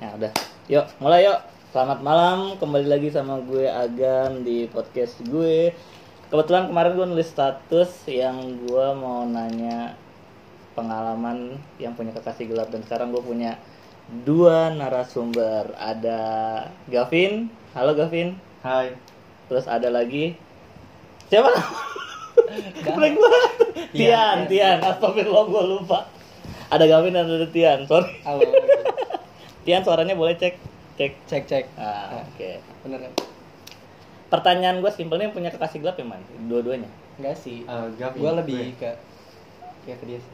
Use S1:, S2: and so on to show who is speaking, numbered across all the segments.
S1: Ya, Yuk, mulai yuk. Selamat malam, kembali lagi sama gue Agam di podcast gue. Kebetulan kemarin gue nulis status yang gue mau nanya pengalaman yang punya kekasih gelap dan sekarang gue punya dua narasumber. Ada Gavin, halo Gavin.
S2: Hai.
S1: Terus ada lagi siapa? Blank banget. Tian, Tian.
S2: Tian,
S1: Astagfirullah gue lupa. Ada Gavin dan ada Tian. Sorry.
S2: Halo.
S1: Tian suaranya boleh cek, cek.
S2: cek cek.
S1: Ah, oke.
S2: Bener kan?
S1: Pertanyaan gue simpelnya punya kekasih gelap ya man? Dua-duanya.
S2: Enggak sih.
S1: Ah,
S3: Eh, Gavin,
S2: Gua
S1: iya,
S2: lebih ke ya ke dia sih.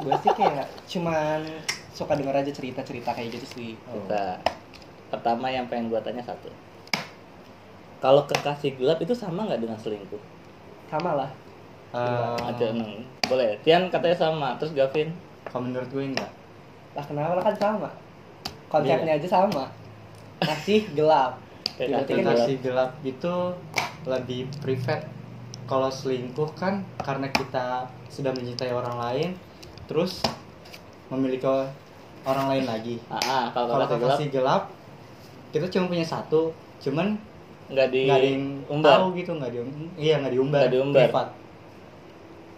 S2: gue sih kayak cuman suka denger aja cerita-cerita kayak gitu sih.
S1: Kita pertama yang pengen gue tanya satu. Kalau kekasih gelap itu sama nggak dengan selingkuh?
S2: Sama lah.
S3: Eh,
S1: Ada enam. Boleh. Tian katanya sama. Terus Gavin
S3: kalau menurut gue enggak.
S2: Lah kenapa lah kan sama. Konsepnya aja sama. Masih gelap.
S1: Iya. Kayak
S2: Berarti kan
S3: Aplikasi gelap itu lebih private. Kalau selingkuh kan karena kita sudah mencintai orang lain, terus memiliki orang lain lagi.
S1: Ah, ah, kalau
S3: Kalau
S1: kekasih gelap
S3: aplikasi gelap, kita cuma punya satu, cuman
S1: nggak di
S3: nggak ada yang tahu
S1: umbar.
S3: gitu, nggak dium, iya nggak diumbar,
S1: Nggak diumbar.
S3: privat.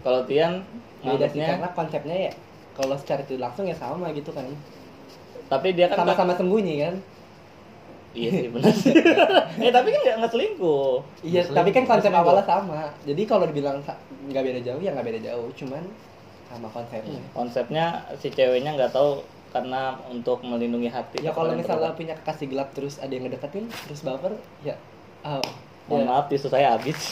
S1: Kalau Tian
S2: Beda Iya sih
S1: nganggapnya,
S2: karena konsepnya ya kalau secara tidak langsung ya sama gitu kan.
S1: tapi dia kan
S2: Sama-sama sembunyi kan.
S1: Iya sih benar sih. eh tapi kan nggak nggak selingkuh.
S2: Iya,
S3: Muslim,
S2: tapi kan konsep
S3: Muslim
S2: awalnya sama. Jadi kalau dibilang sa- nggak beda jauh ya nggak beda jauh, cuman sama
S1: Iya.
S2: konsepnya.
S1: Konsepnya si ceweknya nggak tahu karena untuk melindungi hati.
S2: Ya kalau
S1: Karena
S2: misalnya
S1: berapa-
S2: punya kekasih gelap terus ada yang ngedeketin, terus baper, ya oh,
S1: mohon
S2: ya.
S1: maaf tisu saya habis.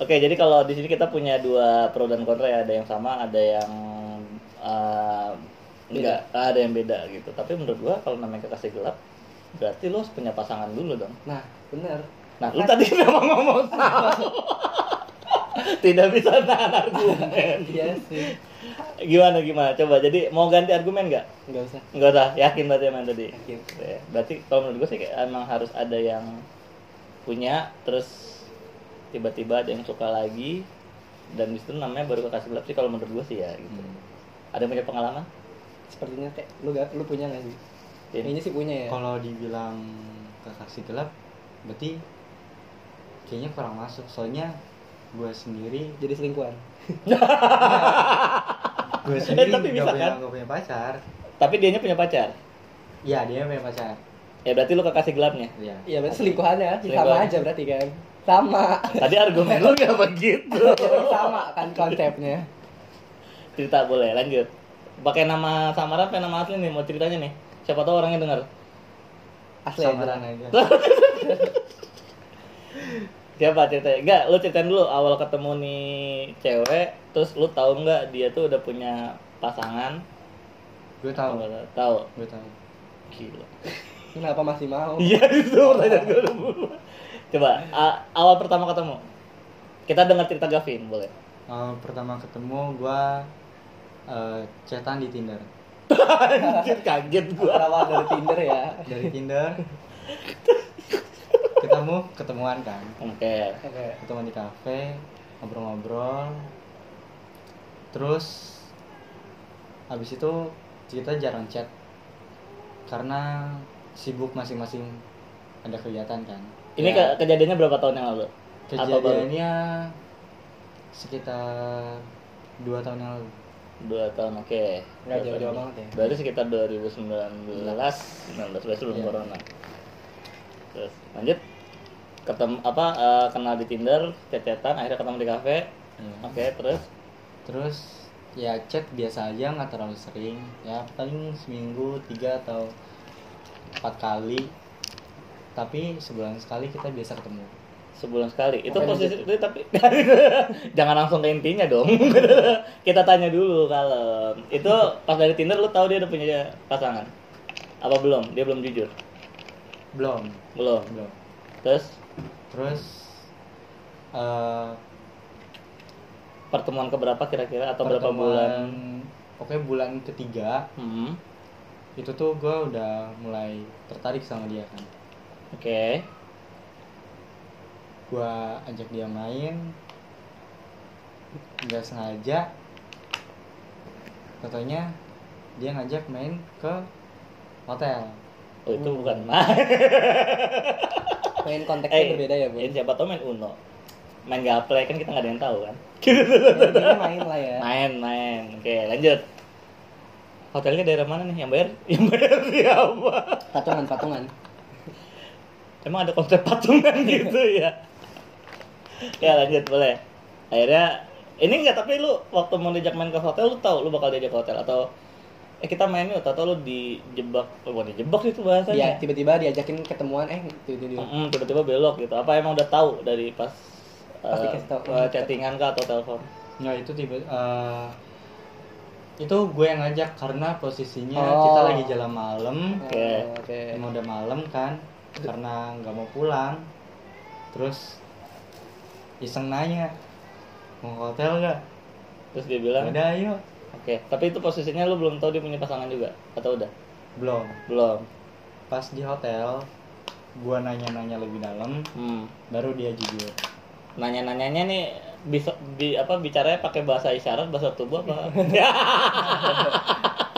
S1: Oke, jadi kalau di sini kita punya dua pro dan kontra ya, ada yang sama, ada yang eh, enggak, ada yang beda gitu. Tapi menurut gua kalau namanya kekasih gelap, berarti lo harus punya pasangan dulu dong.
S2: Nah, bener.
S1: Nah, lu tadi memang ngomong sama. Tidak bisa nahan argumen.
S2: Iya sih,
S1: Gimana gimana? Coba jadi mau ganti argumen nggak?
S2: nggak usah.
S1: Nggak usah. Yakin berarti emang tadi.
S2: Yakin.
S1: Ya, Berarti kalau menurut gue sih kayak emang harus ada yang punya terus tiba-tiba ada yang suka lagi dan disitu namanya baru kekasih gelap sih kalau menurut gue sih ya gitu.
S3: Hmm.
S1: Ada yang punya pengalaman?
S2: Sepertinya kayak lu nggak- lu punya nggak sih?
S1: Tin?
S2: Kayaknya sih punya ya.
S3: Kalau dibilang kekasih gelap, berarti kayaknya kurang masuk. Soalnya gue sendiri,
S2: Jadi selingkuhan.
S3: gue sendiri
S1: tapi
S3: nggak
S1: bisa
S3: punya,
S1: kan?
S3: nggak punya pacar.
S1: Tapi dianya punya pacar.
S3: Iya dia punya pacar.
S1: Ya berarti lu kekasih gelapnya.
S3: Iya.
S2: Iya, berarti selingkuhannya ya, sama
S1: Selingkuhan.
S2: aja berarti kan. Sama.
S1: Tadi argumen lu nggak begitu.
S2: sama kan konsepnya.
S1: cerita boleh lanjut pakai nama samaran pakai nama asli nih mau ceritanya nih siapa tahu orangnya dengar
S2: Asli aja.
S3: Samaran aja.
S1: siapa ceritanya enggak lu ceritain dulu awal ketemu nih cewek terus lu tahu nggak dia tuh udah punya pasangan
S3: Gue tahu.
S1: Nggak tahu
S3: Gue tahu.
S1: gila
S2: Kenapa masih mau?
S1: iya itu pertanyaan gue dulu. coba a- awal pertama ketemu kita dengar cerita Gavin boleh
S3: Eh, pertama ketemu gue eh chatan di Tinder.
S1: Anjir, kaget gua
S2: Berawal dari Tinder ya.
S3: Dari Tinder ketemu ketemuan kan.
S1: oke
S2: Oke.
S3: Ketemuan di kafe, ngobrol-ngobrol. Terus habis itu kita jarang chat karena sibuk masing-masing ada kegiatan kan.
S1: ini
S3: Ya.
S1: ke- kejadiannya berapa tahun yang lalu Apa baru?
S3: Kejadiannya sekitar dua tahun yang lalu.
S1: dua tahun oke
S2: Nggak
S1: Dua
S2: jauh-jauh
S1: tahun.
S2: banget ya.
S1: Berarti sekitar 2019 19 berarti sebelum
S3: Iya.
S1: corona. Terus lanjut ketemu apa eh, kenal di Tinder, chat-chatan, akhirnya ketemu di kafe.
S3: Iya.
S1: Oke, terus
S3: Terus ya chat biasa aja nggak terlalu sering ya paling seminggu tiga atau empat kali tapi sebulan sekali kita biasa ketemu
S1: sebulan sekali. Itu
S2: Oke,
S1: posisi itu tapi jangan langsung ke intinya dong. Kita tanya dulu kalau itu pas dari Tinder lu tahu dia udah punya pasangan. Apa belum? Dia belum jujur.
S3: belum
S1: Belum.
S3: belum
S1: Terus
S3: terus eh
S1: pertemuan keberapa kira-kira atau berapa
S3: pertemuan-
S1: bulan?
S3: oke bulan ketiga
S1: Hmm.
S3: itu tuh gua udah mulai tertarik sama dia kan
S1: Oke.
S3: gua ajak dia main nggak sengaja Contohnya dia ngajak main ke hotel.
S1: Oh itu bukan main.
S2: Main konteksnya berbeda ya, Bu.
S1: ini siapa tau main Uno. Main gaple kan kita nggak ada yang tahu kan.
S2: Ya, intinya main lah ya.
S1: Main main. Oke lanjut. Hotelnya daerah mana nih? Yang bayar? Yang bayar siapa?
S2: Patungan, patungan.
S1: Emang ada konsep patungan gitu ya? ya lanjut boleh. Akhirnya ini enggak tapi lu waktu mau diajak main ke hotel lu tahu lu bakal diajak ke hotel atau eh kita main yuk atau lu dijebak oh, bukan dijebak sih itu
S2: Ya,
S1: bahasanya.
S2: tiba-tiba diajakin ketemuan, eh itu itu dulu.
S1: Mm-mm, tiba-tiba belok gitu. Apa emang udah tahu dari pas
S2: Pas
S1: eh,
S2: dikasih tahu.
S1: eh, chattingan kah atau telepon?
S3: Ya itu tiba eh, itu gue yang ngajak karena posisinya
S2: Oh.
S3: kita lagi jalan malam,
S1: Oke.
S2: Oh, Oke.
S3: emang udah malam kan, karena nggak mau pulang, terus iseng nanya mau ke hotel nggak?
S1: Terus dia bilang, "Oke."
S3: Udah ayo,
S1: Tapi itu posisinya lu belum tahu dia punya pasangan juga atau udah?
S3: belum.
S1: Belum.
S3: Pas di hotel, gue nanya-nanya lebih dalam,
S1: Hmm.
S3: baru dia jujur.
S1: Nanya-nanyanya nih bisa bi, apa bicaranya pakai bahasa isyarat, bahasa tubuh apa?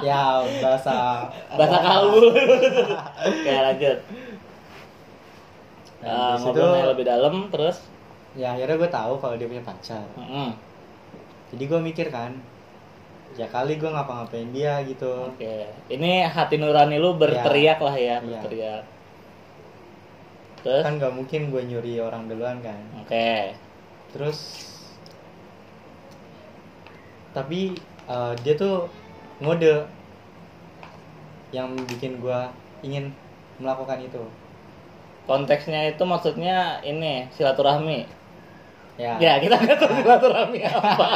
S3: Ya bahasa
S1: bahasa
S3: Ah.
S1: kalbu. Oke, lanjut.
S3: Nah,
S1: Nah,
S3: habis itu,
S1: ngobrolnya lebih dalam terus
S3: ya akhirnya gue tahu kalau dia punya pacar.
S1: mm-mm.
S3: Jadi gue mikir kan, ya kali gue ngapa-ngapain dia gitu.
S1: Oke, ini hati nurani lu berteriak
S3: Iya.
S1: lah ya, berteriak. Terus,
S3: Kan gak mungkin gue nyuri orang duluan kan.
S1: oke,
S3: Terus, tapi eh, dia tuh ngode yang bikin gue ingin melakukan itu.
S1: konteksnya itu maksudnya ini silaturahmi.
S3: Ya,
S1: Ya, kita nggak tahu silaturahmi apa.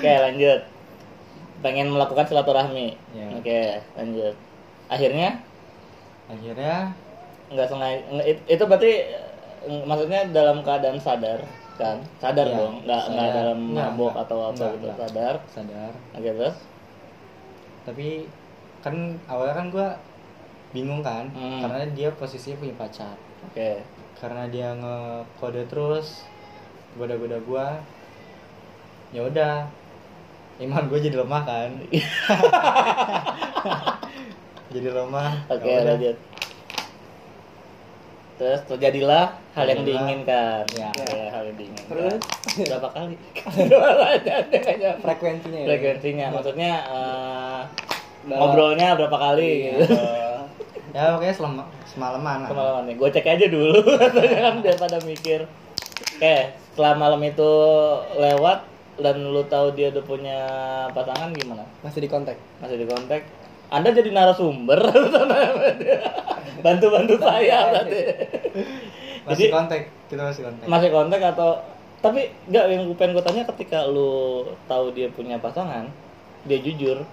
S1: oke, lanjut. Pengen melakukan silaturahmi.
S3: Ya.
S1: Oke, lanjut. Akhirnya
S3: akhirnya
S1: nggak sengaja nge- it- itu berarti eh, maksudnya dalam keadaan sadar kan sadar
S3: Iya,
S1: dong nggak nggak
S3: sadar.
S1: dalam
S3: Nggak,
S1: mabok
S3: nggak.
S1: atau apa
S3: Nggak,
S1: gitu
S3: nggak.
S1: sadar
S3: sadar.
S1: oke terus
S3: Tapi kan awalnya kan gue bingung kan,
S1: Hmm.
S3: karena dia posisinya punya pacar.
S1: oke
S3: karena dia ngekode terus goda-goda gua ya udah iman gue jadi lemah kan jadi lemah
S1: oke
S3: ya udah.
S1: lanjut terus terjadilah hal yang
S3: Terjadilah.
S1: diinginkan
S3: Ya.
S1: Oke, hal yang diinginkan
S2: Terus?
S1: berapa kali Berapa kali?
S2: Frekuensinya ya.
S1: frekuensinya maksudnya eh,
S2: Dalam-
S1: ngobrolnya berapa kali
S3: Iya.
S1: gitu
S3: ya oke selama semalaman lah.
S1: kemalaman nih gue cek aja dulu kan daripada mikir oke setelah malam itu lewat dan lu tahu dia udah punya pasangan gimana
S2: Masih di kontak.
S1: masih di kontak anda jadi narasumber bantu bantu saya berarti
S3: masih
S1: Jadi-
S3: kontak kita masih kontak
S1: masih kontak atau tapi nggak yang gue pengen gue tanya ketika lu tahu dia punya pasangan dia jujur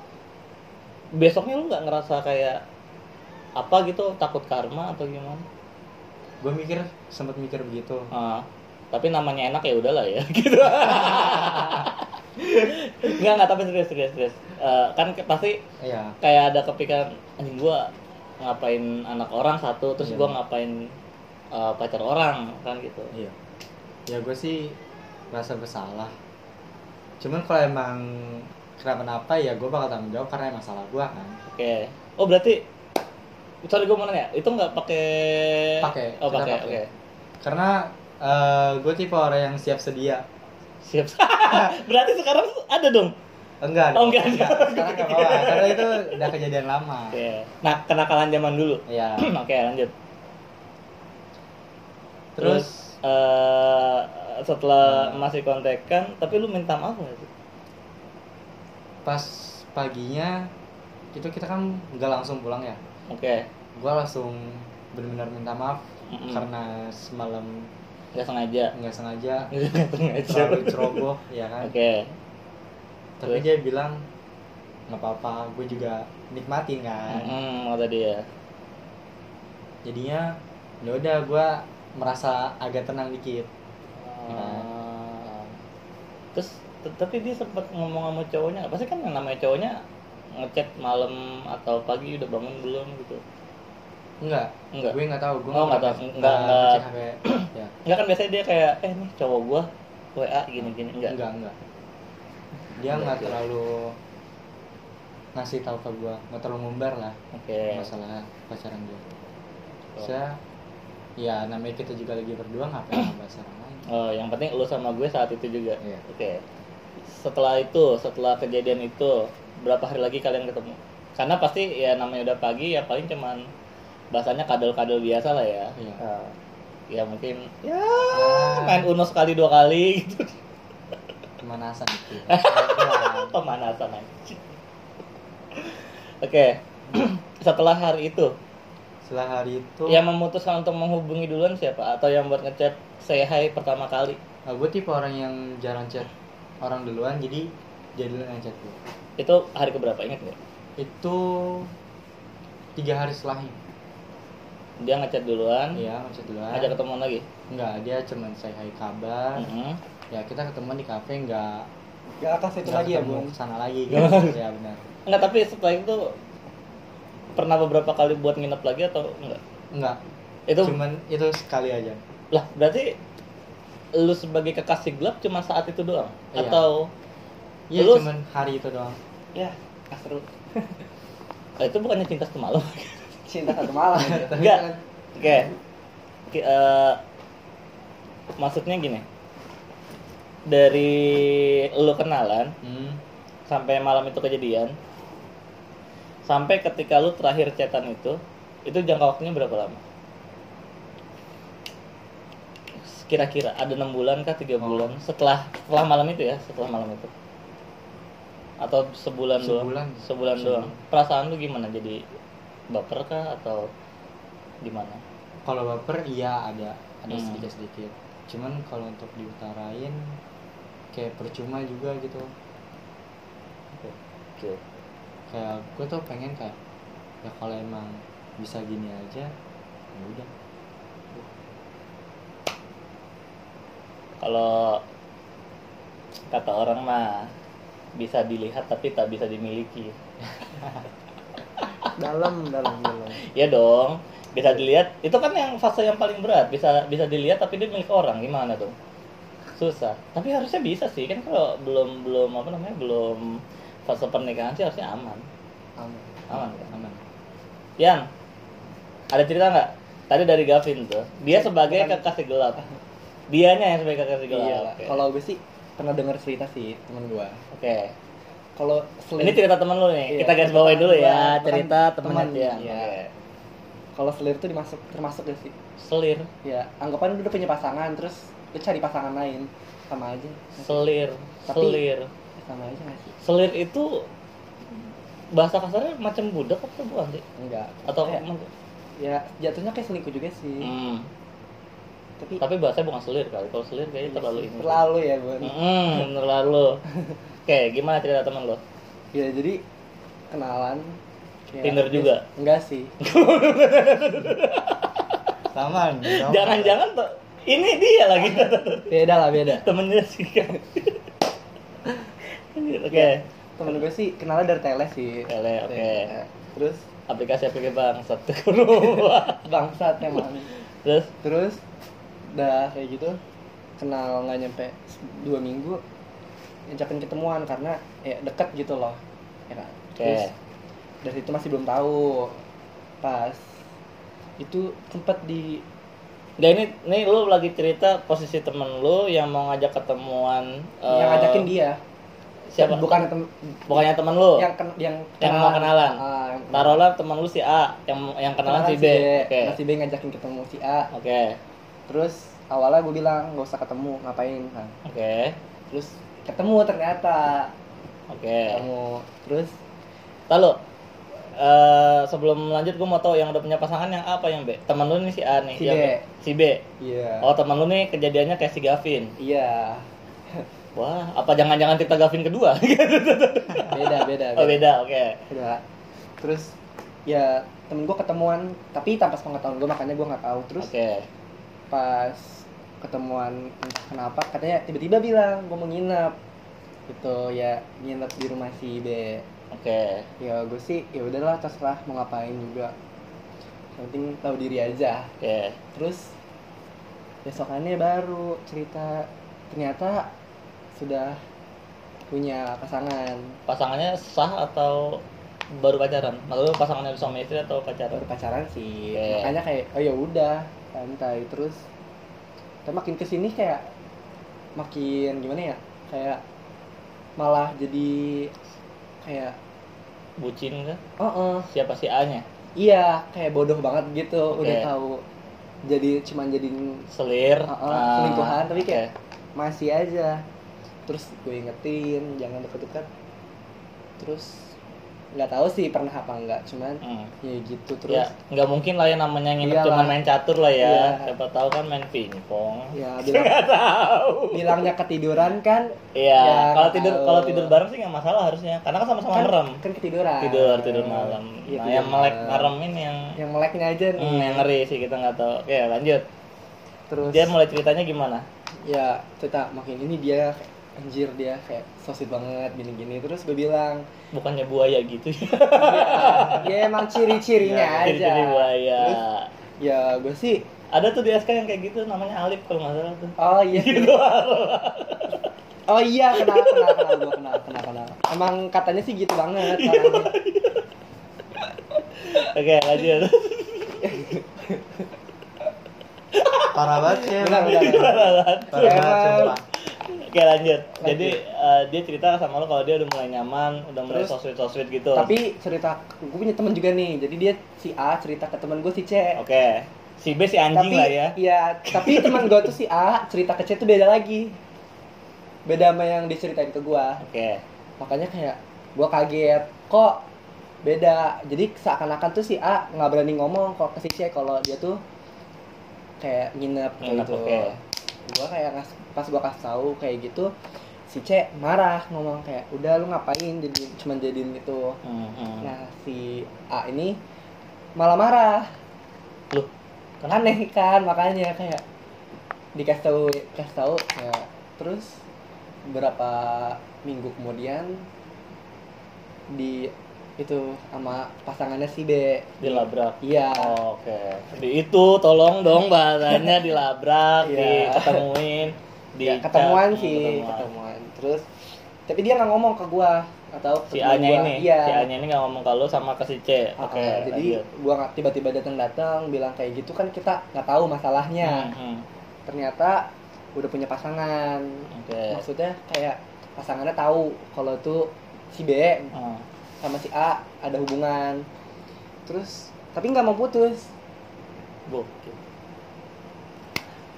S1: besoknya lu nggak ngerasa kayak apa gitu takut karma atau gimana
S3: gue mikir sempat mikir begitu
S1: Ah, tapi namanya enak ya udahlah ya gitu nggak nggak tapi serius serius serius Eh, kan ke- pasti
S3: iya
S1: kayak ada kepikiran anjing gua ngapain anak orang satu terus
S3: Iya.
S1: gua ngapain eh, pacar orang kan gitu
S3: iya ya gue sih merasa bersalah cuman kalau emang kenapa-napa ya gue bakal tanggung jawab karena emang salah gue kan
S1: oke oh berarti sorry gua mau nanya itu nggak pakai
S3: Pakai,
S1: oh
S3: kita
S1: pakai oke
S3: pakai. karena gue tipe orang yang siap sedia
S1: siap berarti sekarang ada dong
S3: enggak
S1: Oh, enggak, Iya.
S3: enggak sekarang enggak apa-apa karena itu udah kejadian lama
S1: oke nah kenakalan zaman dulu
S3: Iya.
S1: oke lanjut
S3: terus
S1: eh, setelah masih kontekan tapi lu minta maaf nggak sih
S3: pas paginya itu kita kan nggak langsung pulang ya
S1: oke
S3: gue langsung benar-benar minta maaf
S1: Mm-mm.
S3: karena semalam
S1: nggak sengaja
S3: nggak sengaja
S1: nggak sengaja oke
S3: terlalu ceroboh ya kan tapi
S1: Terus?
S3: dia bilang nggak apa-apa gue juga nikmatin kan
S1: Mm-mm, ya. kata dia
S3: jadinya ya udah gue merasa agak tenang dikit
S1: Ah. terus t- tapi dia sempat ngomong sama cowoknya pasti kan yang namanya cowoknya ngechat malam atau pagi udah bangun belum gitu
S3: enggak
S1: enggak
S3: gue nggak tahu gue
S1: Oh, nggak
S3: pernah
S1: tahu.
S3: nge-
S1: Nggak, nggak.
S3: ngecek HP ya
S1: enggak kan biasanya dia kayak eh nih cowok gua wa gini gini enggak
S3: Iya. enggak enggak dia nggak
S1: Enggak.
S3: terlalu ngasih tahu ke gue nggak terlalu ngumbar lah
S1: Oke.
S3: Iya. masalah pacaran gue saya ya namanya kita juga lagi berdua ngapain ngebahas orang lain
S1: Oh, yang penting lu sama gue saat itu juga.
S3: Iya.
S1: Oke. Setelah itu, setelah kejadian itu, berapa hari lagi kalian ketemu? Karena pasti ya namanya udah pagi ya paling cuman bahasanya kadal-kadal biasa lah ya.
S3: Iya.
S1: Eh, ya mungkin ya
S3: Ah.
S1: main Uno sekali dua kali gitu.
S3: pemanasan itu
S1: Pemanasan aja. Oke. setelah hari itu,
S3: setelah hari itu
S1: yang memutuskan untuk menghubungi duluan siapa atau yang buat ngechat say hi pertama kali?
S3: gue nah, tipe orang yang jarang chat orang duluan jadi jadi duluan yang chat gue
S1: Itu hari keberapa ingat nggak?
S3: itu tiga hari setelahnya
S1: Dia ngechat duluan,
S3: iya ngechat duluan
S1: ngajak ketemuan lagi.
S3: nggak dia cuman saya hai kabar
S1: Mhm.
S3: ya kita ketemuan di kafe nggak
S2: Gak akan situ
S3: nggak
S2: lagi ya
S3: ketemu
S2: bun.
S3: kesana lagi
S1: Nggak.
S3: kan? ya benar
S1: Enggak, tapi setelah itu pernah beberapa kali buat nginep lagi atau enggak?
S3: nggak
S1: Itu
S3: cuman itu sekali aja
S1: lah berarti lu sebagai kekasih gelap cuma saat itu doang
S3: Iya.
S1: atau
S3: iya
S1: Lu-
S3: cuman hari itu doang
S2: Ya, gak seru.
S1: eh, itu bukannya cinta semalam?
S2: Cinta satu malam. gitu.
S3: Tapi
S1: Enggak.
S3: kan-
S1: Oke. Ki- eh, maksudnya gini. Dari lu kenalan
S3: hmm,
S1: sampai malam itu kejadian sampai ketika lu terakhir chatan itu itu jangka waktunya berapa lama kira-kira ada enam bulan kah tiga
S3: Oh.
S1: bulan setelah setelah malam itu ya setelah malam itu atau sebulan,
S3: Sebulan.
S1: doang sebulan doang perasaan lu gimana jadi baper kah atau gimana
S3: kalau baper iya ada ada
S1: Hmm.
S3: sedikit sedikit cuman kalau untuk diutarain kayak percuma juga gitu
S1: Oke.
S3: kayak gue tuh pengen kayak ya kalau emang bisa gini aja ya udah
S1: kalau kata orang mah bisa dilihat tapi tak bisa dimiliki
S2: dalam, dalam, dalam.
S1: Iya dong, bisa dilihat. Itu kan yang fase yang paling berat. Bisa bisa dilihat tapi dia milik orang. Gimana tuh? Susah. Tapi harusnya bisa sih. Kan kalau belum belum apa namanya? Belum fase pernikahan sih harusnya aman.
S2: Amin.
S1: Aman kan?
S3: aman
S1: Yang ada cerita nggak? Tadi dari Gavin tuh. Dia sebagai
S2: Bukan.
S1: kekasih gelap. Dianya yang sebagai kekasih gelap.
S2: Iya lah.
S1: Oke.
S2: Kalau gue sih pernah dengar cerita sih temen gue.
S1: Oke.
S2: Kalau
S1: Ini
S2: selir,
S1: cerita teman lu nih.
S2: Iya,
S1: Kita garis
S2: cerita
S1: bawain
S2: teman
S1: dulu
S2: gua,
S1: ya.
S2: bukan
S1: Cerita temannya
S2: teman.
S1: dia.
S2: Iya.
S1: Oke.
S2: kalau selir tuh dimasuk termasuk gak sih?
S1: Selir,
S2: Ya, anggapan lu udah punya pasangan, terus lu cari pasangan lain, sama aja.
S1: selir,
S2: Tapi-
S1: selir.
S2: Sama aja gak sih?
S1: Selir itu bahasa kasarnya macam budak apa bukan sih?
S2: Enggak.
S1: Atau
S2: ya,
S1: emang-
S2: ya jatuhnya kayak selingkuh juga sih.
S1: Hmm.
S2: Tapi,
S1: Tapi bahasanya bukan selir kali. Kalau selir kayaknya terlalu ini.
S2: Iya terlalu ya bun.
S1: Hmm, terlalu. Oke, gimana cerita teman lo?
S2: Ya jadi kenalan. kayak- ya,
S1: Tinder juga?
S2: Enggak sih.
S3: aman gitu.
S1: Jangan-jangan tuh ini dia lagi
S2: Beda lah beda.
S1: temennya sih kan. Oke,
S2: Ya, Temen gue sih kenalan dari Tele sih.
S1: Tele, oke.
S2: Ya. Terus
S1: aplikasi aplikasi bang satu kurung.
S2: bangsat emang.
S1: Terus
S2: Terus udah kayak gitu kenal nggak nyampe dua minggu ajakin ketemuan karena ya deket gitu loh. Ya kan?
S1: oke.
S2: Terus dari situ masih belum tahu. Pas itu tempat di
S1: Nah ini, ini lu lagi cerita posisi temen lu yang mau ngajak ketemuan
S2: yang
S1: eh,
S2: ngajakin dia
S1: siapa?
S2: bukan tem-
S1: Bukannya temen lu?
S2: yang ken- yang
S1: Yang mau kenalan.
S2: Ah, yang
S1: Taruhlah teman lu si A yang yang kenalan si B. Oke.
S2: Nah, si B ngajakin ketemu si A.
S1: Oke.
S2: Terus awalnya gue bilang gak usah ketemu, ngapain kan?
S1: Oke.
S2: Terus ketemu ternyata
S1: Oke.
S2: ketemu. Terus
S1: Lalu eh sebelum lanjut gue mau tahu yang udah punya pasangan yang A apa yang B? Teman lu nih si A nih.
S2: Si
S1: yang-
S2: B.
S1: Si B.
S2: iya.
S1: Oh teman lu nih kejadiannya kayak si Gavin.
S2: Iya.
S1: Wah, apa jangan-jangan kita Gavin kedua?
S2: Beda, beda.
S1: oh beda, oke.
S2: Beda. Terus ya temen gue ketemuan tapi tanpa sepengetahuan gue makanya gue nggak tahu terus
S1: Oke.
S2: pas ketemuan entah kenapa katanya tiba-tiba bilang gue mau nginep gitu ya nginep di rumah si B
S1: Oke.
S2: ya gue sih ya udahlah terserah mau ngapain juga yang penting tahu diri aja
S1: Oke.
S2: terus besokannya baru cerita ternyata sudah punya pasangan
S1: Pasangannya sah atau baru pacaran? Maksud lu pasangannya suami istri atau pacaran?
S2: baru pacaran sih
S1: Oke.
S2: makanya kayak oh ya udah santai terus tapi makin kesini kayak makin gimana ya kayak malah jadi kayak
S1: Bucin kan?
S2: oh eh,
S1: Siapa si A-nya?
S2: iya kayak bodoh banget gitu
S1: Oke.
S2: udah tahu jadi cuman jadi
S1: Selir,
S2: Oh, oh,
S1: ah,
S2: selingkuhan,
S1: oke.
S2: tapi kayak- masih aja terus gue ingetin jangan deket-deket terus nggak tahu sih pernah apa enggak cuman
S1: Hmm.
S2: ya gitu terus
S1: Ya, nggak mungkin lah ya namanya nginep
S2: Iyalah.
S1: cuma main catur lah ya.
S2: Iya.
S1: Siapa tahu kan main pingpong.
S2: ya bilang
S1: tahu.
S2: bilangnya ketiduran kan
S1: Iya,
S2: Ya,
S1: kalau tidur
S2: tahu.
S1: kalau tidur bareng sih nggak masalah harusnya. Karena kan sama-sama
S2: kan,
S1: merem.
S2: kan ketiduran
S1: Tidur tidur malam.
S2: Iya,
S1: nah,
S2: tidur
S1: yang melek
S2: malam. Iya,
S1: merem ini yang
S2: yang meleknya aja nih
S1: hmm, yang ngeri sih kita nggak tahu. Oke, lanjut.
S2: terus
S1: Dia mulai ceritanya gimana?
S2: ya cerita makin ini dia kayak, anjir dia kayak sosit banget gini-gini terus gue bilang
S1: Bukannya buaya gitu ya.
S2: ya emang
S1: Iya,
S2: ciri-cirinya aja
S1: Jadi buaya.
S2: Terus, ya gue sih
S1: Ada tuh di SK yang kayak gitu namanya Alip kalau nggak salah tuh.
S2: oh iya oh iya kenal kenal kenal gue kenal kenal kenal emang katanya sih gitu banget
S1: Iya,
S2: orangnya.
S1: Oke, lanjut.
S3: Parah banget sih.
S2: benar benar,
S1: gitu.
S2: benar.
S3: Parah banget
S2: Emang.
S3: sumpah.
S1: Oke, lanjut. Jadi eh, dia cerita sama lo kalau dia udah mulai nyaman, udah mulai
S2: Terus?
S1: sosmed sosmed gitu.
S2: tapi cerita gue punya teman juga nih jadi dia si A cerita ke teman gue si C
S1: Oke. Si B si anjing
S2: tapi
S1: lah ya.
S2: iya, tapi teman gue tuh si A cerita ke C tuh beda lagi beda sama yang diceritain ke gue
S1: Oke.
S2: makanya kayak gue kaget kok beda jadi seakan-akan tuh si A nggak berani ngomong kok ke si C kalau dia tuh kayak nginep kayak
S1: Nginep,
S2: gitu
S1: oke.
S2: gue kayak ngas- pas gue kasih tahu kayak gitu si C marah ngomong kayak udah lu ngapain jadi cuman jadiin itu
S1: Hmm, hmm.
S2: nah si A ini malah marah
S1: Loh, kenapa?
S2: aneh kan makanya kayak dikasih tahu kasih tahu ya terus berapa minggu kemudian di itu sama pasangannya si B
S1: dilabrak.
S2: iya
S1: Oh, Oke. Di itu tolong dong bahasanya dilabrak,
S2: Iya.
S1: diketemuin, di
S2: ya, ketemuan
S1: chat.
S2: sih
S1: Hmm,
S2: ketemuan.
S1: ketemuan.
S2: terus tapi dia nggak ngomong ke gua atau
S1: Si
S2: ke temen
S1: A-nya
S2: gua.
S1: ini,
S2: iya
S1: si A-nya ini nggak ngomong kalau sama ke si C.
S2: Ah,
S1: Oke.
S2: ah, jadi
S1: lanjut.
S2: gua nggak tiba-tiba datang-datang bilang kayak gitu kan kita nggak tahu masalahnya
S1: Hmm, hmm.
S2: ternyata udah punya pasangan
S1: Oke.
S2: maksudnya kayak pasangannya tahu kalau tuh si B
S1: Hmm.
S2: sama si A ada hubungan terus tapi nggak mau putus
S1: Gokil.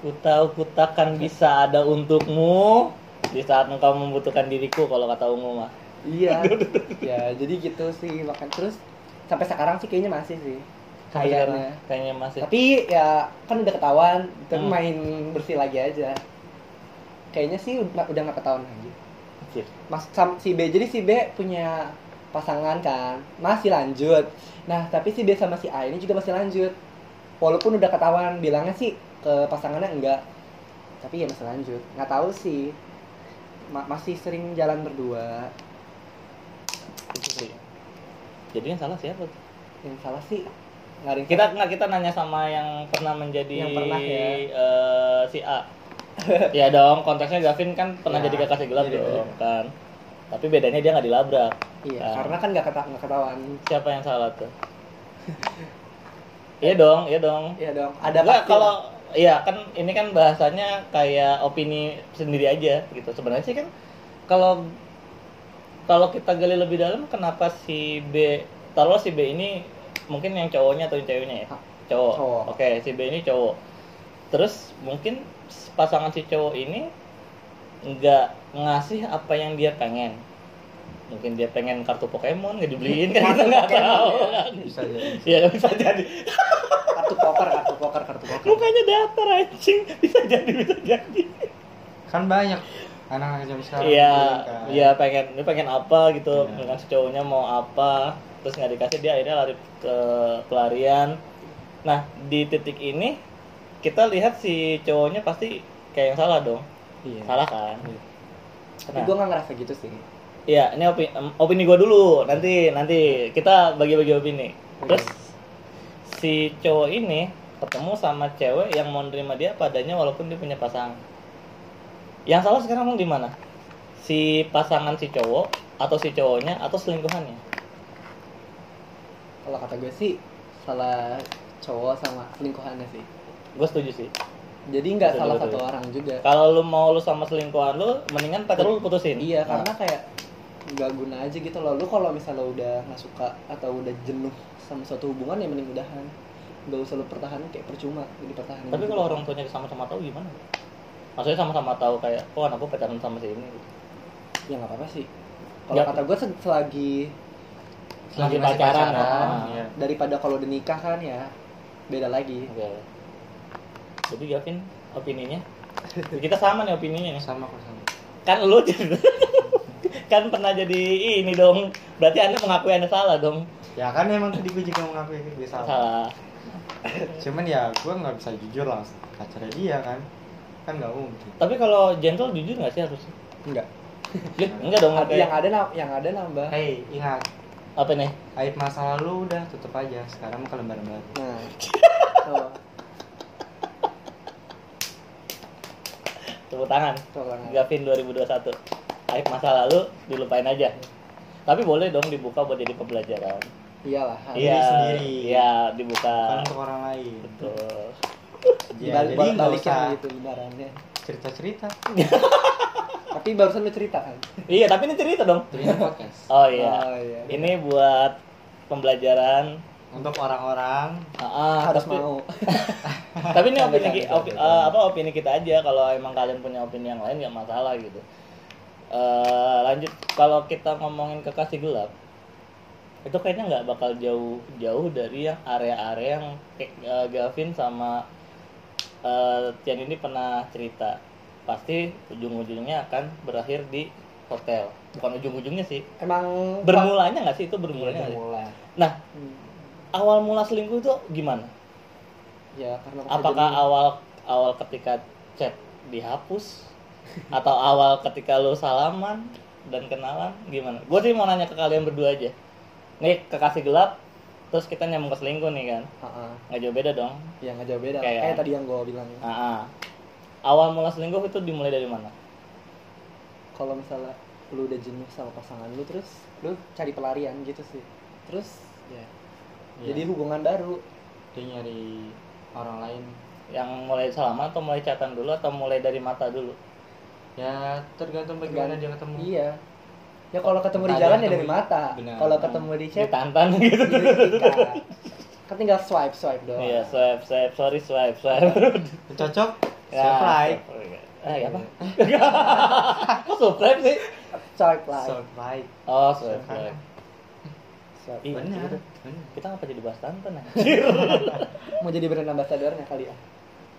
S1: Ku tahu ku takkan bisa ada untukmu di saat engkau membutuhkan diriku kalau kata ungu mah.
S2: iya ya jadi gitu sih makan terus sampai sekarang sih kayaknya masih sih
S1: Sampai
S2: kayaknya
S1: sekarang, kayaknya masih.
S2: tapi ya kan udah ketahuan tapi
S1: Hmm.
S2: main bersih lagi aja kayaknya sih udah udah nggak ketahuan lagi
S1: Anjir.
S2: Mas sam- si B jadi si B punya pasangan kan masih lanjut nah tapi si B sama si A ini juga masih lanjut walaupun udah ketahuan bilangnya sih ke pasangannya enggak tapi ya masih lanjut nggak tahu sih Ma- masih sering jalan berdua
S1: Itu sih. Jadi yang salah siapa? tuh?
S2: yang salah sih nggak ada yang
S1: Kita nggak kita nanya sama yang pernah menjadi
S2: Yang pernah ya.
S1: eh, si A. ya dong, konteksnya Gavin kan pernah
S2: Ya,
S1: jadi kakak segelap
S2: iya,
S1: dong kan. Tapi bedanya dia nggak dilabrak.
S2: iya
S1: Ah.
S2: karena kan nggak keta- nggak ketahuan
S1: Siapa yang salah tuh? iya dong, iya dong.
S2: iya dong ada
S1: Nggak,
S2: pasti
S1: kalau iya kan ini kan bahasanya kayak opini sendiri aja gitu. Sebenarnya sih kan kalau kalau kita gali lebih dalam kenapa si B taruh si B ini mungkin yang cowoknya atau yang ceweknya ya?
S2: Ah,
S1: Cowok.
S2: cowok.
S1: Oke, si B ini cowok. Terus mungkin pasangan si cowok ini nggak ngasih apa yang dia pengen. Mungkin dia pengen kartu Pokemon nggak dibeliin kan kita nggak tahu.
S2: ya.
S1: kan.
S3: Bisa jadi.
S1: Iya kan bisa jadi.
S2: kartu poker kartu poker kartu poker
S1: Mukanya datar anjing, bisa jadi bisa jadi.
S3: Kan banyak anak-anak jam sekarang.
S1: Iya,
S3: kan.
S1: iya pengen, dia pengen apa gitu,
S3: Iya.
S1: dengan si cowoknya mau apa, terus nggak dikasih dia akhirnya lari ke pelarian. Nah di titik ini kita lihat si cowoknya pasti kayak yang salah dong,
S2: iya.
S1: salah kan?
S2: Iya. tapi
S1: Nah,
S2: gue nggak ngerasa gitu sih
S1: iya ini opini, opini gue dulu, nanti nanti kita bagi-bagi opini. Terus si cowok ini ketemu sama cewek yang mau nerima dia padanya walaupun dia punya pasangan. Yang salah sekarang mau di mana? Si pasangan si cowok atau si cowoknya atau selingkuhannya?
S2: kalau kata gue sih salah cowok sama selingkuhannya sih
S1: gue setuju sih
S2: jadi nggak
S1: Betul,
S2: salah
S1: betul,
S2: satu
S1: betul.
S2: orang juga
S1: kalau lu mau lu sama selingkuhan lu mendingan pacar lu putusin
S2: iya
S1: Nah,
S2: karena kayak nggak guna aja gitu loh lu kalau misalnya lo udah nggak suka atau udah jenuh sama suatu hubungan ya mending udahan nggak usah lu pertahanin kayak percuma jadi pertahanin
S1: tapi
S2: gitu.
S1: kalau orang tuanya sama-sama tahu gimana maksudnya sama-sama tahu kayak oh anak gue pacaran sama si ini gitu.
S2: ya nggak apa-apa sih kalau
S1: Nggak.
S2: kata gue se- selagi
S1: Selagi
S3: masih
S1: pacaran, ah.
S3: iya.
S2: daripada kalau udah nikah kan ya beda lagi
S1: Oke. Jadi Gavin opininya kita sama nih opininya nih.
S3: sama kok sama
S1: Kan lu kan pernah jadi ini dong. Berarti Anda mengakui Anda salah dong.
S3: ya kan emang tadi gue juga mengakui gue salah
S1: Salah.
S3: cuman ya gue nggak bisa jujur langsung pacarnya dia kan kan nggak mungkin
S1: Tapi kalau gentle jujur nggak sih harusnya?
S2: enggak
S1: Lih, enggak dong
S2: yang
S1: kayak
S2: ada na- yang ada nambah
S3: Hei, ingat
S1: apa nih?
S3: aib masa lalu udah tutup aja sekarang mau ke lembaran baru
S2: nah tuh
S1: Tepuk tangan.
S2: tuh kan
S1: Gavin 2021. Aib masa lalu dilupain aja. Tapi boleh dong dibuka buat jadi pembelajaran.
S2: iyalah
S3: Iya. sendiri. Kan
S1: Iya,
S3: bukan
S1: dibuka.
S3: untuk orang lain
S1: Betul.
S3: Ya,
S2: balik
S3: jadi nggak
S2: balik
S3: usah
S2: gitu benarannya
S3: cerita cerita
S2: tapi barusan lu cerita kan
S1: Iya, tapi ini cerita dong.
S3: cerita podcast
S1: Oh iya.
S2: oh, iya.
S1: Ini buat pembelajaran
S3: untuk orang-orang
S1: Ah,
S2: harus
S1: tapi-
S2: mau
S1: tapi ini opini
S2: Tanda-tanda,
S1: ki- opi- eh, apa opini kita aja kalau emang kalian punya opini yang lain nggak masalah gitu Eh, lanjut kalau kita ngomongin kekasih gelap itu kayaknya nggak bakal jauh-jauh dari yang area-area yang kayak, eh, Gavin sama eh, Tian ini pernah cerita pasti ujung-ujungnya akan berakhir di hotel bukan ujung-ujungnya sih
S2: emang
S1: bermulanya nggak sih itu bermulanya nggak sih?
S2: Oh, Iya, bermula
S1: nah
S2: Hmm.
S1: awal mula selingkuh itu gimana
S2: ya karena
S1: apakah
S2: kejadian-
S1: awal awal ketika chat dihapus atau awal ketika lu salaman dan kenalan gimana gue sih mau nanya ke kalian berdua aja nih kekasih gelap terus kita nyambung ke selingkuh nih kan
S2: Ah, ah.
S1: nggak jauh beda dong
S2: ya nggak jauh beda
S1: Kayak-
S2: kayak, tadi yang gue bilang ya.
S1: Ah, ah. awal mula selingkuh itu dimulai dari mana
S2: kalau misalnya lu udah jenuh sama pasangan lu terus lu cari pelarian gitu sih terus ya
S1: Iya.
S3: jadi
S2: jadi hubungan baru
S3: Ya, dia nyari orang lain
S1: yang mulai salaman atau mulai chatan dulu atau mulai dari mata dulu
S3: ya tergantung bagaimana dia
S1: Hmm.
S3: ketemu
S2: iya ya kalau ketemu di
S3: Entah
S2: jalan
S3: dia
S2: ya dari
S3: ketemu-
S2: mata
S3: Benar.
S2: kalau ketemu
S1: Iya,
S2: di chat
S1: ditantan gitu
S2: di ketika kan tinggal swipe swipe doang
S1: iya swipe swipe sorry swipe swipe
S3: cocok
S1: Ya,
S3: siapa like
S1: eh apa kok subscribe sih
S2: swipe like
S3: Swipe like
S1: Oh, sesuai.
S2: swipe
S1: Iya.
S2: like
S3: benar
S2: gitu.
S3: benar.
S1: Kita ngapa jadi bahas Tantan ya?
S2: mau jadi brand ambassadornya kali ya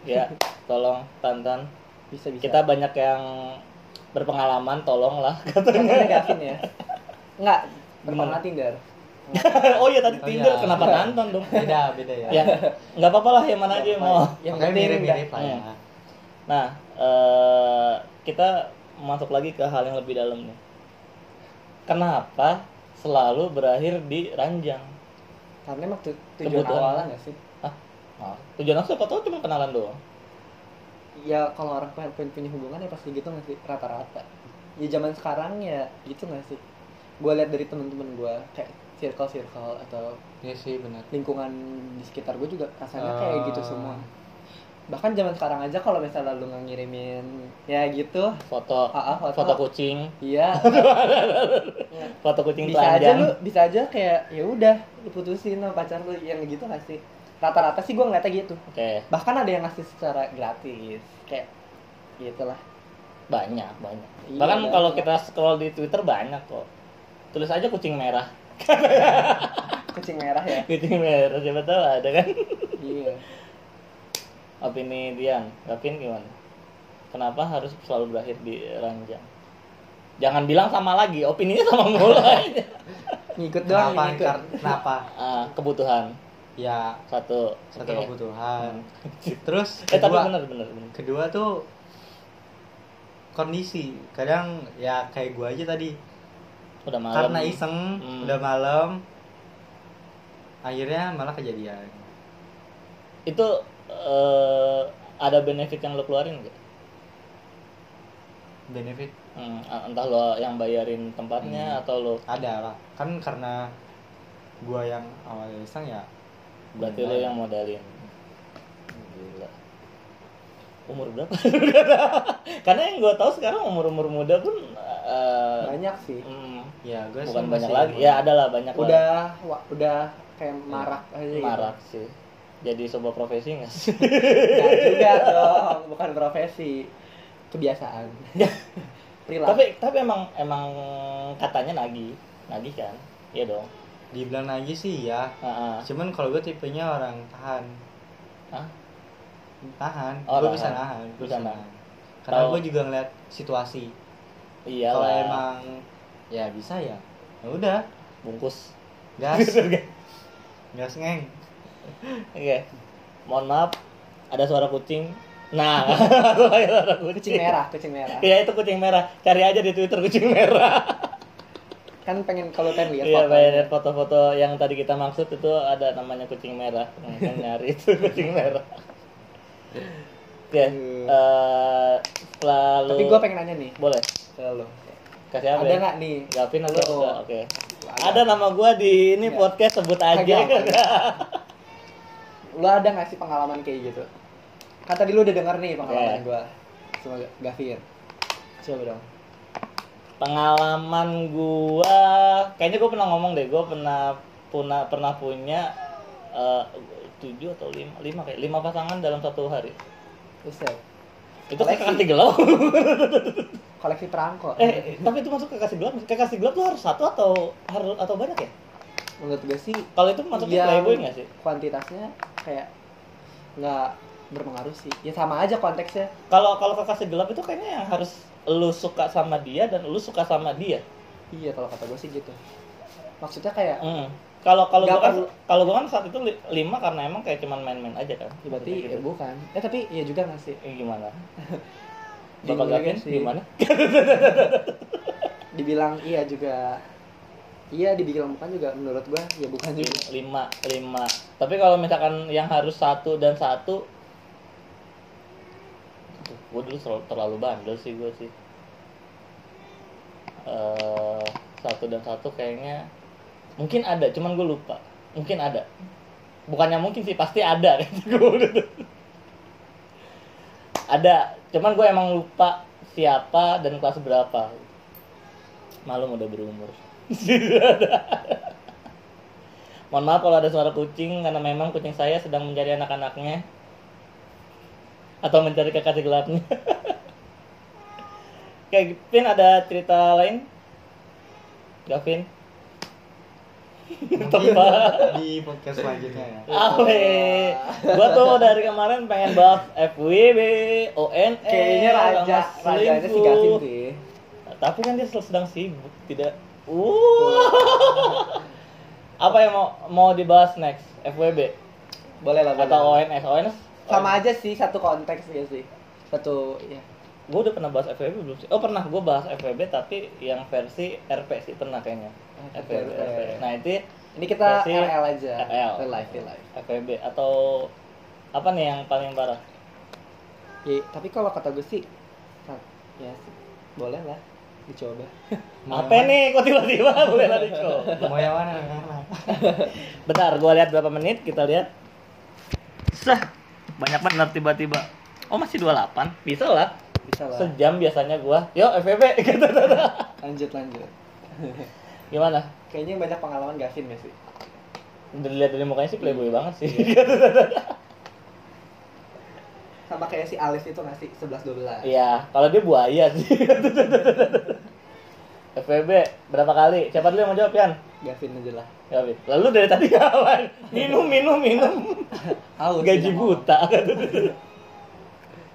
S1: ya, tolong Tantan.
S2: bisa bisa
S1: Kita banyak yang berpengalaman, tolonglah.
S2: katanya Gavin ya nggak
S1: Gimana?
S2: pernah Tinder
S1: oh iya tadi
S3: Oh,
S1: Tinder,
S3: iya.
S1: kenapa Tantan dong?
S3: beda beda ya,
S1: ya, nggak apa-apa lah yang mana aja yang mau.
S2: yang
S3: Makanya
S2: penting
S3: mirip-mirip lah
S1: nggak-
S3: ya.
S1: Nah, eh, kita masuk lagi ke hal yang lebih dalam nih. Kenapa selalu berakhir di ranjang?
S2: karena emang tu- tujuan
S1: Kebutuhan.
S2: awalnya nggak sih
S1: Nah, tujuan aku siapa tahu cuma kenalan doang.
S2: ya kalau orang pengen, pengen punya hubungan ya pasti gitu nggak sih rata-rata ya zaman sekarang ya gitu nggak sih gue lihat dari temen-temen gue kayak circle circle atau
S3: Iya sih benar
S2: lingkungan di sekitar gue juga rasanya
S3: Eh.
S2: kayak gitu semua bahkan zaman sekarang aja kalau misalnya lu nggak ngirimin ya gitu
S1: Foto,
S2: ah, ah, foto.
S1: foto kucing,
S2: iya
S1: foto kucing
S2: bisa aja
S1: telanjang.
S2: lu bisa aja kayak ya udah lu putusin sama pacar lu yang gitu nggak sih rata-rata sih gue ngeliatnya gitu
S1: Oke,
S2: bahkan ada yang ngasih secara gratis kayak gitulah
S1: banyak, banyak.
S2: Iya,
S1: Bahkan
S2: banyak.
S1: kalau kita scroll di Twitter banyak kok. Tulis aja kucing merah.
S2: kucing merah ya
S1: Kucing merah siapa tahu ada kan.
S2: iya
S1: Opini Dian, Gavin gimana? Kenapa harus selalu berakhir di ranjang? Jangan bilang sama lagi, opininya sama mulu aja.
S2: ngikut doang
S3: kenapa
S2: ngikut
S3: Kar- kenapa
S1: Ah, kebutuhan
S3: ya
S1: satu.
S3: satu
S1: Oke.
S3: kebutuhan terus
S1: Eh tapi
S3: kedua
S1: benar benar benar.
S3: kedua tuh kondisi kadang ya kayak gue aja tadi
S1: Udah malam.
S3: karena iseng
S1: Hmm.
S3: udah malam akhirnya malah kejadian
S1: Itu eh, ada benefit yang lo keluarin nggak?
S3: benefit
S1: Hmm, entah lo yang bayarin tempatnya
S3: Hmm.
S1: atau lo
S3: ada lah kan karena gua yang awalnya iseng ya
S1: Berarti
S3: Hmm.
S1: lo yang modalin. Gila. Umur berapa? Karena yang gue tahu sekarang umur-umur muda pun eh,
S2: banyak sih
S1: mm,
S3: ya gue
S1: bukan banyak lagi. Ya ada lah banyak lah.
S2: udah wa- udah kayak
S1: Iya.
S2: marak aja gitu.
S1: Marak sih. Jadi sebuah profesi nggak sih?
S2: Nggak juga dong bukan profesi kebiasaan perilaku
S1: tapi tapi emang emang katanya nagih. Nagih kan? Iya dong.
S3: dibilang lagi sih ya
S1: Heeh.
S3: cuman kalau gue tipenya orang tahan
S1: Hah?
S3: tahan
S1: Oh,
S3: gue
S1: tahan.
S3: bisa nahan gue bisa
S1: Bisa
S3: nahan karena
S1: Kalau-
S3: gue juga ngeliat situasi
S1: Iya
S3: kalau
S1: lah.
S3: emang ya bisa ya ya udah
S1: Bungkus.
S3: gas gas ngeng
S1: Oke. Iya. Mohon maaf. Ada suara kucing. Nah, suara
S2: kucing merah kucing merah
S1: Iya itu kucing merah. Cari aja di Twitter kucing merah.
S2: kan pengen kalau pengen lihat
S1: Iya,
S2: foto.
S1: banyak lihat foto-foto yang tadi kita maksud itu ada namanya kucing merah. Mungkin nyari itu kucing merah. Oke. eh lalu
S2: tapi gue pengen nanya nih
S1: boleh
S2: ke lo
S1: kasih apa?
S2: ada
S1: ya?
S2: nggak nih
S1: Gavin atau
S2: Lo.
S1: enggak? Oke. Ada nama gua di ini
S2: Iya.
S1: podcast sebut aja.
S2: Kagak, lo ada nggak sih pengalaman kayak gitu kan tadi lo udah denger nih
S1: Iya.
S2: pengalaman gue sama Gavir coba dong
S1: pengalaman gua kayaknya gua pernah ngomong deh gua pernah pernah pernah punya eh, tujuh atau lima lima kayak lima pasangan dalam satu hari
S2: Buset.
S1: itu kan kayak
S2: Koleksi.
S1: kasih gelap
S2: koleksi perangko
S1: eh tapi itu masuk ke kasih gelap ke kasih gelap tuh harus satu atau harus atau banyak ya
S2: menurut gue sih
S1: kalau itu masuk ke
S2: yang
S1: playboy nggak sih
S2: kuantitasnya kayak nggak berpengaruh sih ya sama aja konteksnya
S1: kalau kalau ke kasih gelap itu kayaknya yang harus lu suka sama dia dan lu suka sama dia
S2: iya kalau kata gue sih gitu maksudnya kayak
S1: Mm. kalau kalau
S2: Nggak
S1: gua kan
S2: perlu.
S1: kalau gua kan saat itu li- lima karena emang kayak cuman main-main aja kan
S2: ya berarti
S1: Gitu.
S2: ya bukan eh tapi iya juga nggak sih
S1: Eh, gimana
S2: Bingung
S1: Bapak
S2: juga
S1: Gavin
S2: Iya, sih.
S1: gimana
S2: dibilang iya juga iya dibilang bukan juga menurut gue ya bukan
S1: Eh,
S2: juga
S1: lima lima tapi kalau misalkan yang harus satu dan satu gue dulu terlalu, terlalu bandel sih gue sih eh satu dan satu kayaknya mungkin ada cuman gue lupa mungkin ada bukannya mungkin sih pasti ada ada cuman gue emang lupa siapa dan kelas berapa malu udah berumur Mohon maaf kalau ada suara kucing karena memang kucing saya sedang mencari anak-anaknya atau mencari kekasih gelapnya. Oke, Pin ada cerita lain? Gavin? Tempat.
S3: di podcast selanjutnya ya
S1: Awe. Gua tuh dari kemarin pengen bahas FWB, ONE,
S2: kayaknya raja
S1: E, sama
S2: rajanya si
S1: selingkuh.
S2: Gavin sih
S1: Tapi kan dia sedang sibuk, tidak. Uh. Apa yang mau mau dibahas next? FWB
S2: boleh lah boleh.
S1: atau E? ONS? ONS?
S2: sama aja sih satu konteks ya sih satu ya
S1: Gue udah pernah bahas FWB belum sih? Oh pernah, gue bahas FWB tapi yang versi RP sih pernah kayaknya.
S2: Ah,
S1: FWB,
S2: RP.
S1: RP. Nah itu
S2: ini kita
S1: Versi
S2: LL aja
S1: RL.
S2: real life real life
S1: FWB atau apa nih yang paling parah?
S2: Ya, tapi kalau kata gue sih nah, ya sih, boleh lah dicoba
S3: Mau
S2: Nah.
S1: apa
S3: yang
S1: nih? Kok tiba-tiba boleh lari kok?
S3: mana? mau yang mana Mau yang mana?
S1: Bentar, gua lihat berapa menit, kita lihat. Sah. Banyak benar tiba-tiba. Oh, masih 28. Bisa lah.
S2: bisa lah
S1: Sejam biasanya gua. Yuk, FVP gitu.
S2: lanjut lanjut
S1: Gimana?
S2: kayaknya banyak pengalaman Gavin gak sih
S1: Dilihat dari mukanya sih playboy
S2: Iya.
S1: banget sih.
S2: sama kayak si Alif itu ngasih 11 12
S1: Iya, kalau dia buaya sih. FVB berapa kali? Siapa dulu yang mau jawab, Yan? Ya,
S2: Gavin aja lah
S1: Jawabin. Lalu dari tadi kawan minum minum minum
S2: Aus,
S1: gaji
S2: tidak
S1: buta.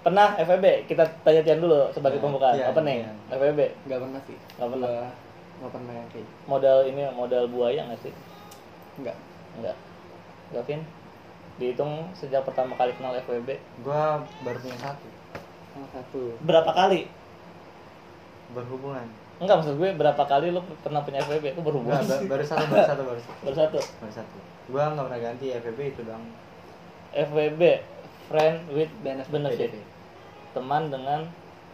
S1: Pernah FVB kita tanya Tian dulu sebagai
S3: Ya,
S1: pembukaan.
S3: iya,
S1: Apa nih?
S3: iya.
S1: FVB
S2: ngomong. nggak pernah sih
S1: Nggak pernah.
S2: Gua nggak pernah yang kayak gitu.
S1: modal ini modal buaya nggak sih?
S2: nggak
S1: Enggak. Gavin, dihitung sejak pertama kali kenal FWB
S3: gue baru punya satu
S2: salah satu
S1: berapa kali?
S3: berhubungan
S1: Enggak maksud gue berapa kali lu pernah punya FWB? Itu
S3: Enggak,
S1: berhubungan
S3: ba- baru satu baru satu baru satu
S1: baru satu.
S3: baru satu gue nggak pernah ganti FVB itu doang
S1: FWB friend with
S2: Benefit.
S1: benefit. Teman dengan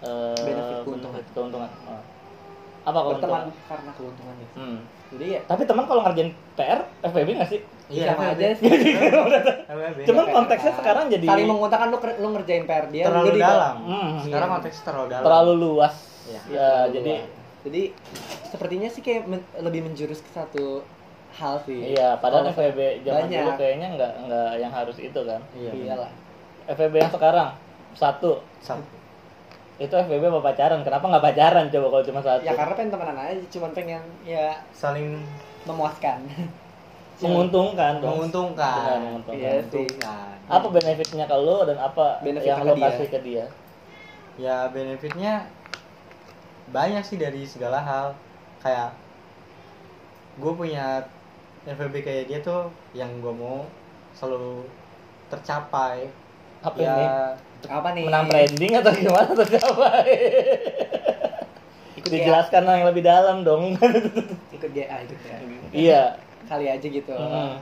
S1: eh,
S2: Benefit keuntungan.
S1: keuntungan. Oh. Apa keuntungan?
S2: berteman karena keuntungan ya.
S1: Hmm.
S2: Jadi ya
S1: Tapi teman kalau ngerjain PR, FPB nggak sih?
S3: Iya,
S2: sama
S3: FWB.
S2: aja sih.
S3: FWB.
S1: Cuman
S2: Kayak
S1: kan konteksnya
S2: apa.
S1: sekarang jadi-
S2: saling mengutarakan lu ker- lu ngerjain PR dia lu
S3: terlalu
S2: Iya, di-
S3: dalam.
S1: Hmm.
S3: Sekarang
S2: Iya.
S3: konteksnya terlalu dalam.
S1: Terlalu luas.
S3: Iya.
S1: Ya, jadi
S2: jadi sepertinya sih kayak men- lebih menjurus ke satu hal sih
S1: iya, padahal
S2: Kalau-
S1: FPB zaman
S2: Oh, banyak.
S1: dulu kayaknya nggak nggak yang harus itu kan.
S3: Iya.
S2: iyalah
S1: FPB yang sekarang satu
S3: Satu.
S1: itu FPB apa pacaran? Kenapa nggak pacaran coba kalau cuma satu?
S2: ya karena pengen temenan aja cuman pengen ya
S3: Saling
S2: memuaskan ya,
S1: menguntungkan dong. Benar,
S3: menguntungkan.
S1: menguntungkan.
S2: Iya sih.
S3: Menguntungkan.
S1: Apa benefitnya ke lo dan apa
S2: Benefit
S1: yang
S2: ke
S1: lo
S2: dia.
S1: kasih ke dia?
S3: Ya benefitnya banyak sih dari segala hal. Kayak gue punya FWB kayak dia tuh yang gue mau selalu tercapai.
S1: Apa
S3: ya,
S1: ini?
S2: apa nih
S1: Menang branding atau gimana atau siapa?
S2: ikut GA
S1: Dijelaskan yang lebih dalam dong.
S2: ikut GA ikut GA
S1: iya.
S2: kali aja gitu
S1: Mm.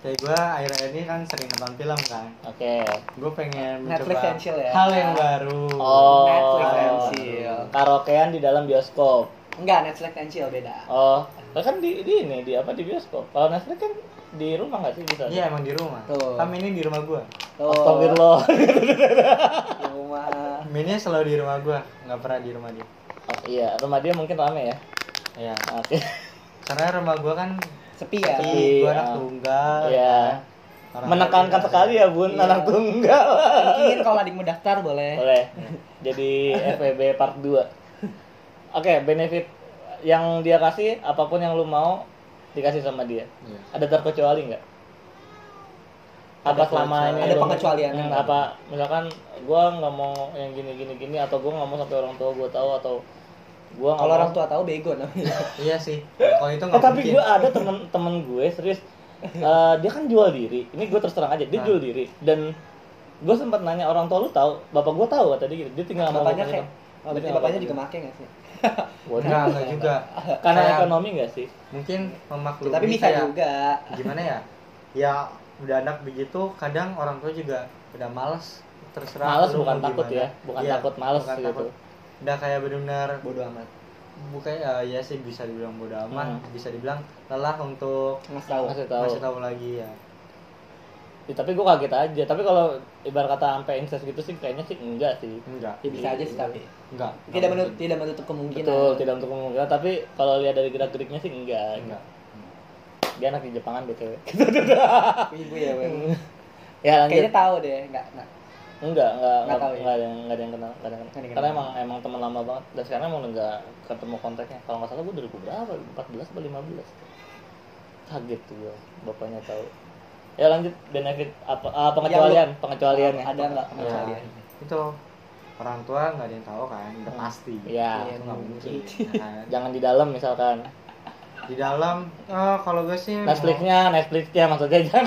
S3: kayak gue akhir-akhir ini kan sering nonton film kan.
S1: Oke.
S3: Gue pengen
S2: Netflix
S3: mencoba
S2: and chill ya.
S3: hal yang baru.
S1: Oh.
S2: Netflix and chill
S1: Karaokean di dalam bioskop.
S2: enggak Netflix and chill beda
S1: Oh, lah kan di, di ini di apa di bioskop. Kalau Netflix kan di rumah nggak sih bisa? Oh.
S3: Iya emang di rumah.
S2: Tuh.
S3: Kami ini di rumah gue.
S2: tuh
S1: Astagfirullah.
S2: di rumah
S3: Mainnya selalu di rumah gue, nggak pernah di rumah dia.
S1: Oh, iya, rumah dia mungkin rame ya.
S3: Iya.
S1: Oke.
S3: Karena rumah gue kan
S2: sepi ya
S1: Sepi.
S3: gue
S1: Iya.
S3: anak tunggal. kan.
S1: Iya.
S3: Orang
S1: Menekankan
S3: lain-
S1: sekali ya, Bun,
S2: Iya.
S1: anak tunggal.
S2: mungkin kalau adikmu daftar boleh
S1: Boleh. Jadi FPB part 2. Oke, benefit yang dia kasih apapun yang lu mau dikasih sama dia.
S3: Iya.
S1: Ada terkecuali nggak?
S3: Ada
S1: Apa selama ini
S3: pengecualian.
S2: Ada
S1: lu-
S2: pengecualian.
S1: Hmm, apa misalkan gua nggak mau yang gini gini gini atau gua nggak mau sampai orang tua gua tahu atau gua nggak
S2: kalau
S1: mau-
S2: orang tua tahu bego namanya
S3: Iya sih. Kalau itu
S1: Eh,
S3: nggak
S1: tapi
S3: mungkin.
S1: gue ada temen-temen gue serius Eh, dia kan jual diri ini gue terus terang aja dia
S3: Hah?
S1: jual diri dan gue sempat nanya orang tua lu tahu bapak gue tahu kata dia gitu dia tinggal sama
S2: bapaknya
S1: bapaknya
S2: kayak oh,
S1: Dia
S2: berarti
S1: tinggal
S2: bapaknya
S1: sama
S2: juga
S1: bapaknya.
S2: make nggak sih
S1: Waduh.
S3: Nah, nggak juga.
S1: karena
S3: Kayak
S1: ekonomi gak sih
S3: Mungkin memaklumi.
S2: tapi bisa
S3: kayak,
S2: juga
S3: Gimana ya? Ya udah anak begitu, kadang orang tua juga udah males terserah.
S1: Males
S3: lu
S1: bukan
S3: mau
S1: takut
S3: gimana.
S1: ya, bukan
S3: Iya,
S1: takut males
S3: bukan
S1: gitu.
S3: takut. Udah kayak benar-benar
S2: bodoh amat
S3: bukan eh, ya sih bisa dibilang bodo amat,
S1: Hmm.
S3: bisa dibilang lelah untuk
S2: nggak tahu
S1: masih tahu
S3: masih tahu lagi ya.
S1: Ya, tapi gue kaget aja tapi kalau ibarat kata sampai incest gitu sih kayaknya sih enggak sih
S3: Enggak.
S2: ya bisa aja sih tapi
S3: Enggak.
S2: tidak menutup
S3: Iya.
S2: tidak menutup kemungkinan
S1: betul tidak untuk kemungkinan tapi kalau lihat dari gerak geriknya sih enggak
S3: Enggak.
S1: dia anak di Jepangan btw
S2: ibu ya Bang.
S1: ya lanjut
S2: kayaknya tahu deh nggak nggak
S1: Enggak, enggak,
S2: Nggak
S1: enggak,
S2: tahu ya?
S1: enggak ada yang enggak ada yang kenal, enggak ada yang
S2: Nggak
S1: kenal.
S2: ada yang
S1: Karena
S2: kenal.
S1: emang emang teman lama banget dan sekarang emang udah enggak ketemu kontaknya. Kalau enggak salah gue 2000 berapa? 14 atau 15. Kaget tuh gue, bapaknya tahu. Ya lanjut benefit apa ah, pengecualian, ya. pengecualiannya.
S2: ada nggak pengecualian
S3: Ya, itu orang tua nggak ada yang tahu kan, udah pasti.
S1: Iya.
S3: Itu nggak mungkin. ya kan.
S1: Jangan di dalam misalkan.
S3: Di dalam, eh, kalau gue sih. mau-
S1: Netflixnya, Netflixnya maksudnya jangan.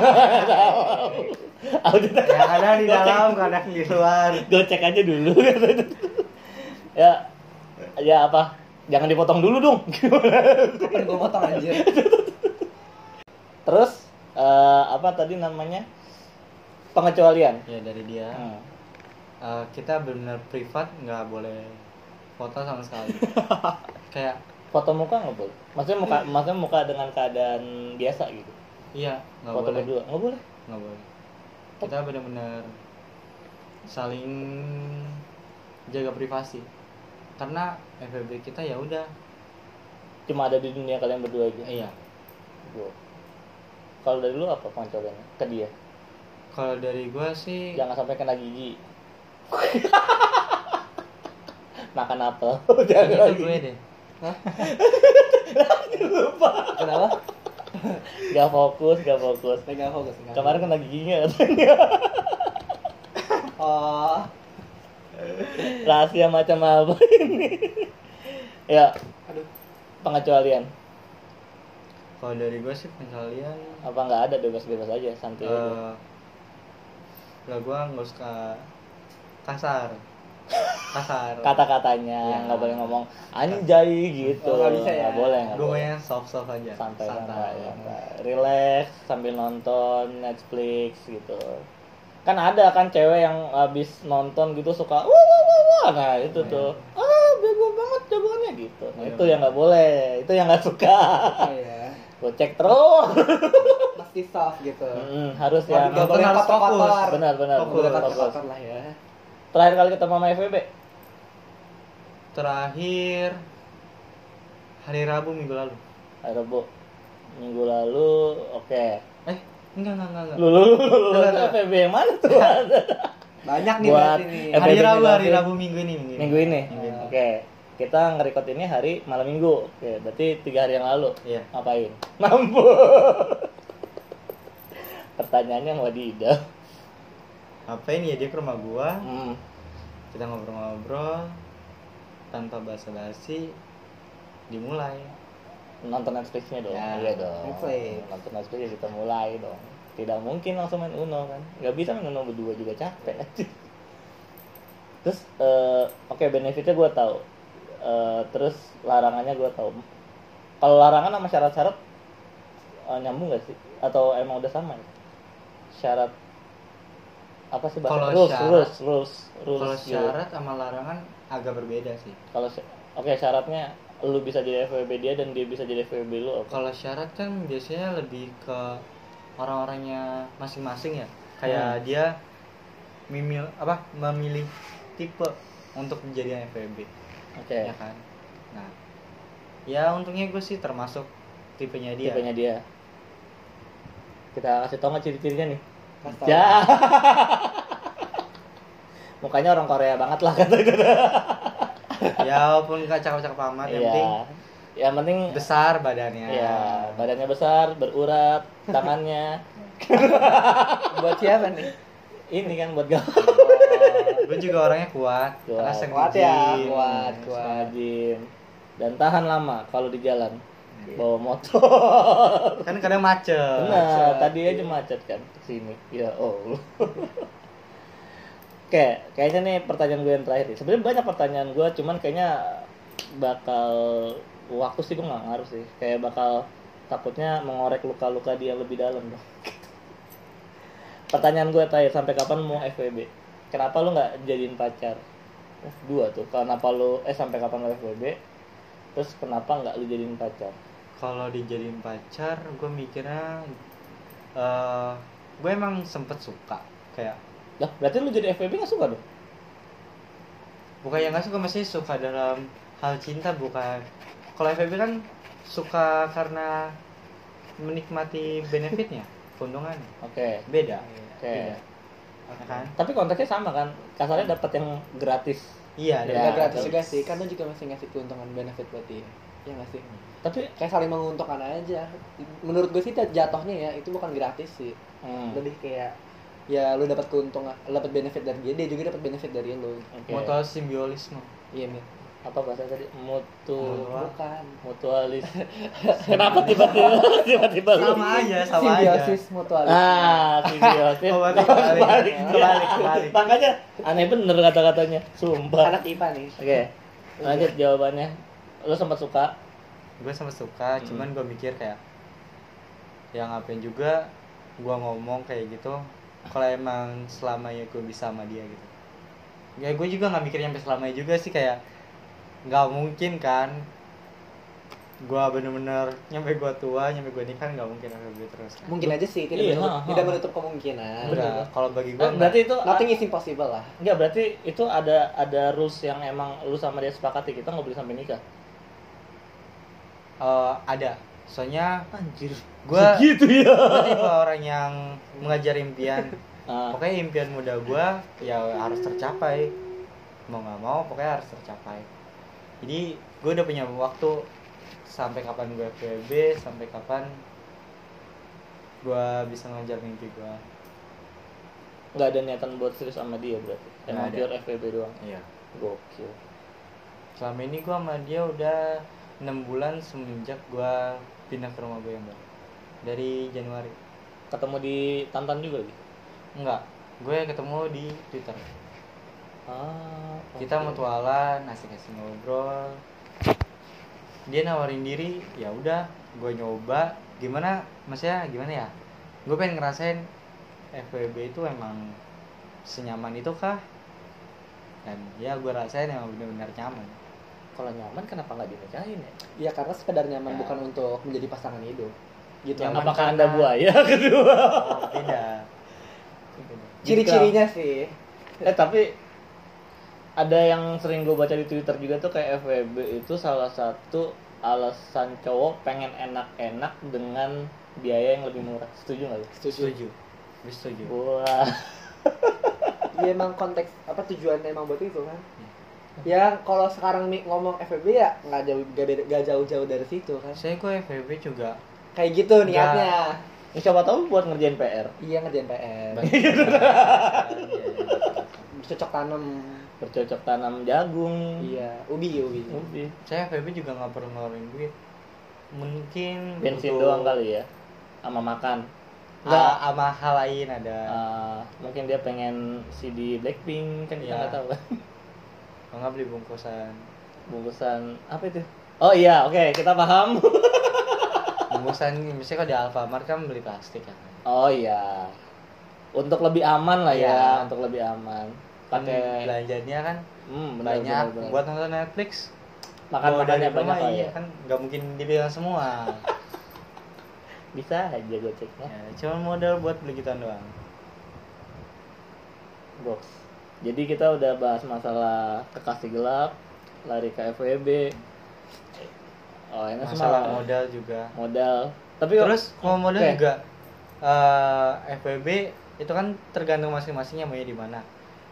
S1: Audit
S3: Ya kadang di dalam, kadang di luar.
S1: gue cek aja dulu ya ya apa jangan dipotong dulu dong
S2: kapan gue potong anjir
S1: terus eh, apa tadi namanya pengecualian
S3: Ya dari dia.
S1: Hmm.
S3: eh, kita benar-benar privat, nggak boleh foto sama sekali. Kayak,
S1: foto muka nggak boleh maksudnya muka maksudnya muka dengan keadaan biasa gitu
S3: iya nggak
S1: foto
S3: boleh,
S1: berdua nggak boleh
S3: nggak boleh. Kita benar-benar saling jaga privasi. Karena FBB kita ya udah,
S1: cuma ada di dunia kalian berdua aja
S3: iya.
S1: Gua. kalau dari lu apa pengecualiannya ke dia
S3: Kalau dari gue sih,
S1: jangan sampai kena gigi makan apel jangan
S3: itu
S1: Ya, lagi
S3: gue deh.
S2: kenapa
S1: gak fokus gak fokus
S2: nggak fokus nggak
S1: kemarin kan? kena giginya
S2: fokus. oh
S1: rahasia macam apa ini ya
S2: aduh
S1: pengecualian
S3: Kalau dari gue sih pengecualian
S1: apa nggak ada bebas-bebas aja santai aja.
S3: eh lah gue nggak suka kasar, kasar. Ya.
S1: kata-katanya nggak boleh ngomong anjay gitu
S2: Oh, nggak bisa ya.
S1: Nggak boleh nggak
S3: Gue
S1: boleh
S3: maunya soft soft aja.
S1: santai santai, santai. relax sambil nonton Netflix gitu kan ada kan cewek yang habis nonton gitu suka wah wah wah wah nah itu tuh ah bego banget jagoannya gitu nah,
S3: Iya.
S1: itu yang nggak boleh itu yang nggak suka
S2: Iya.
S1: gocek terus
S2: Mesti soft gitu.
S1: Mm, harus
S2: Waduh,
S1: yang
S2: nggak boleh
S3: harus fokus.
S2: kotor-kotor.
S1: benar benar
S2: Nggak boleh
S1: benar, fokus.
S2: kotor-kotor lah ya.
S1: terakhir kali ketemu sama FVB
S3: Terakhir hari Rabu minggu lalu.
S1: hari Rabu minggu lalu oke
S3: Eh, enggak enggak enggak. enggak.
S1: lu lu lu lu-
S3: Benar,
S1: lu
S3: benar.
S1: FVB yang mana tuh
S2: Banyak nih
S1: Buat
S2: berarti nih.
S1: Eh,
S3: hari
S1: beda-beda
S3: Rabu, hari
S1: lagi.
S3: Rabu minggu ini, minggu ini.
S1: minggu ini
S3: Minggu ini.
S1: oke kita ngerekod ini hari malam minggu oke berarti tiga hari yang lalu
S3: Iya.
S1: ngapain mampu pertanyaannya wadidaw
S3: Ngapain ya dia ke rumah gua?
S1: hmm.
S3: Kita ngobrol-ngobrol tanpa basa-basi dimulai.
S1: nonton Netflixnya dong
S3: Ya,
S1: iya dong
S2: Netflix.
S1: nonton Netflix ya kita mulai dong tidak mungkin langsung main Uno kan nggak bisa main Uno berdua juga capek terus eh, oke benefitnya gue tahu Eh, terus larangannya gue tahu kalau larangan sama syarat-syarat eh, nyambung gak sih atau emang udah sama ya syarat apa sih bahasa
S3: Kalau
S1: rules,
S3: syarat-
S1: rules rules rules
S3: Kalau
S1: gitu.
S3: syarat sama larangan agak berbeda sih.
S1: kalau sy- oke syaratnya lu bisa jadi FWB dia dan dia bisa jadi FWB lu apa?
S3: Kalau syarat kan biasanya lebih ke orang-orangnya masing-masing ya. Kayak dia mimil apa memilih tipe untuk menjadi FPB
S1: oke
S3: ya kan. Nah, ya untungnya gue sih termasuk tipenya dia.
S1: tipenya dia kita kasih tau nggak ciri-cirinya nih
S2: Mas tau.
S1: ya mukanya orang Korea banget lah kata itu
S3: ya walaupun gak cakep-cakep amat, yang
S1: Iya.
S3: penting
S1: yang penting
S3: besar badannya.
S1: ya badannya besar berurat tangannya
S2: Buat siapa nih?
S1: ini kan buat gak
S3: gue juga orangnya kuat,
S1: Kuat.
S3: karena sering
S2: Kuat ya,
S3: izin.
S2: kuat, kuat.
S1: rajin dan tahan lama kalau di jalan
S3: Iya.
S1: bawa motor
S3: Kan kadang macet.
S1: Benar, tadi aja macet kan kesini. Ya Allah. Oke, kayaknya nih pertanyaan gue yang terakhir. nih. Sebenarnya banyak pertanyaan gue, cuman kayaknya bakal waktu sih gue nggak ngaruh sih. Kayak bakal takutnya mengorek luka-luka dia lebih dalam. pertanyaan gue terakhir, sampai kapan mau FWB? Kenapa lu nggak jadiin pacar? Eh, Dua tuh, kenapa lu eh sampai kapan lu FWB? Terus kenapa nggak lu jadiin pacar?
S3: kalau dijadiin pacar gue mikirnya eh gue emang sempet suka kayak
S1: Lah, berarti lu jadi FWB nggak suka dong?
S3: bukan yang nggak suka masih suka dalam hal cinta bukan kalau FBB kan suka karena menikmati benefitnya keuntungannya
S1: Oke.
S3: beda
S2: Iya.
S1: Oke.
S3: beda ya kan
S1: Iya. Tapi konteksnya sama kan? Kasarnya dapat yang gratis.
S3: iya
S1: Ya,
S2: Nggak gratis
S1: terus.
S2: juga sih, kan lu juga masih ngasih keuntungan benefit buat dia. Ya nggak sih?
S1: Tapi
S2: Kayak saling menguntungkan aja. Menurut gue sih jatuhnya ya itu bukan gratis sih.
S1: hmm,
S2: Lebih kayak ya lu dapat keuntungan, dapat benefit dari dia, dia juga dapat benefit dari lu.
S1: oke.
S3: mutual simbiolisme
S2: Iya, Mit.
S1: apa bahasa tadi? Mutu
S3: Mutual.
S2: Bukan.
S1: mutualis. Kenapa tiba-tiba tiba-tiba lu?
S3: sama aja sama aja
S2: Simbiosis mutualisme.
S1: Iya, Ah, simbiosis.
S3: Oh,
S1: Kebalik,
S3: berarti kebalik. Kebalik,
S1: kebalik.
S3: kebalik.
S1: Makanya aneh bener kata-katanya. Sumpah.
S2: Anak IPA nih. Iya.
S1: Oke. Lanjut jawabannya. Lu sempat suka?
S3: gue sama suka
S1: Hmm.
S3: cuman gue mikir kayak yang ngapain juga gue ngomong kayak gitu kalau emang selamanya gue bisa sama dia gitu ya gue juga nggak mikir sampai selamanya juga sih kayak nggak mungkin kan gue bener-bener nyampe gue tua nyampe gue nikah nggak mungkin FWB terus kan
S2: Mungkin aja sih, tidak,
S1: Iya,
S2: menutup,
S1: ha, ha.
S2: tidak menutup kemungkinan.
S1: Bener.
S3: Nggak. kalau bagi gue
S1: Eh, berarti itu
S2: Nothing is impossible lah.
S1: enggak berarti itu ada ada rules yang emang lu sama dia sepakati kita nggak boleh sampai nikah.
S3: Eh, ada soalnya
S1: Anjir.
S3: gue
S1: gitu ya.
S3: gue tipe orang yang mengajar impian
S1: Ah,
S3: pokoknya impian muda gua ya harus tercapai mau nggak mau pokoknya harus tercapai jadi gue udah punya waktu sampai kapan gue FWB sampai kapan gua bisa ngejar mimpi gua
S1: nggak ada niatan buat serius sama dia berarti emang
S3: Nggak ada.
S1: pure FVB doang
S3: iya
S1: gokil
S3: selama ini gua sama dia udah enam bulan semenjak gua pindah ke rumah gue yang baru dari Januari
S1: ketemu di Tantan juga gitu? lagi
S3: enggak gue ketemu di Twitter
S1: ah
S3: kita
S1: oke.
S3: mutualan asik-asik ngobrol dia nawarin diri ya udah gue nyoba gimana maksudnya gimana ya gue pengen ngerasain FWB itu emang senyaman itu kah dan ya gue rasain emang bener-bener nyaman
S1: kalau nyaman kenapa nggak dinikahin ya?
S2: Iya karena sekedar nyaman
S1: Ya.
S2: bukan untuk menjadi pasangan hidup. Gitu.
S3: Nyaman.
S1: Apakah
S3: karena-
S1: anda buaya kedua?
S3: Oh, beda. Beda.
S2: Ciri-cirinya sih.
S1: Eh tapi ada yang sering gue baca di Twitter juga tuh kayak FWB itu salah satu alasan cowok pengen enak-enak dengan biaya yang lebih murah. Setuju nggak lu?
S2: Setuju.
S3: Setuju. Gue setuju.
S1: Wah.
S2: Ya emang konteks apa tujuannya emang buat itu kan.
S1: Iya.
S2: Ya kalau sekarang Mi ngomong FBB ya nggak jauh nggak beda- nggak jauh-jauh dari situ kan.
S3: Saya gue FVB juga
S2: Kayak gitu
S3: Nggak.
S2: niatnya.
S1: Ini siapa tahu buat ngerjain PR.
S2: Iya ngerjain PR.
S3: Iya,
S2: Cocok tanam.
S1: Bercocok tanam jagung.
S2: Iya, ubi ubi.
S1: Ubi.
S3: saya FVB juga nggak perlu ngeluarin duit. Mungkin
S1: Bensin
S3: untuk-
S1: doang kali ya. Sama makan.
S3: Nggak,
S1: Ah.
S3: sama hal lain ada.
S1: Eh, mungkin dia pengen CD Blackpink kan kita
S3: Iya.
S1: nggak tahu kan.
S3: Kalau nggak beli bungkusan.
S1: Bungkusan apa itu? Oh iya, oke kita paham.
S3: Bungkusan ini, misalnya kalau di Alfamart kan beli plastik kan.
S1: Oh iya. Untuk lebih aman lah
S3: Iya.
S1: ya, untuk lebih aman.
S3: Pakai
S1: Pakai
S3: belanjanya kan
S1: hmm, Iya. benar,
S3: banyak
S1: benar, benar.
S3: buat nonton Netflix.
S1: makan
S3: Bawa dari
S1: makannya banyak
S3: rumah,
S1: lah
S3: iya
S1: ya.
S3: kan nggak mungkin dibilang semua.
S1: Bisa aja goceknya.
S3: ya, cuma modal buat beli gituan doang.
S1: Box. Jadi kita udah bahas masalah kekasih gelap, lari ke FWB. Oh, ini
S3: Masalah
S1: semua
S3: modal juga.
S1: modal. Tapi kalau-
S3: Terus kalau modal
S1: Oke.
S3: juga eh FWB itu kan tergantung masing-masingnya maunya di mana.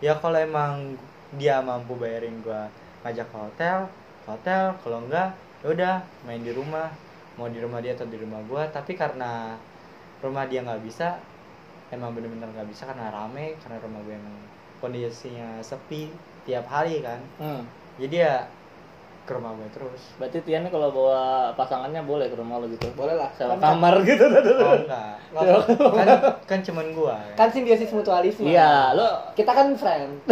S3: Ya kalau emang dia mampu bayarin gua ngajak ke hotel, ke hotel kalau enggak ya udah main di rumah. Mau di rumah dia atau di rumah gua, tapi karena rumah dia nggak bisa emang bener-bener nggak bisa karena rame karena rumah gue emang kondisinya sepi tiap hari kan
S1: hmm,
S3: jadi ya ke rumah gue terus
S1: berarti Tian nih kalau bawa pasangannya boleh ke rumah lo gitu.
S2: Boleh lah.
S1: Sewa
S2: Kan-
S1: kamar gitu.
S3: oh enggak
S2: Nggak-
S3: kan kan cuman gua ya.
S2: Kan simbiosis mutualisme.
S1: Iya, lo
S2: Kita kan friend.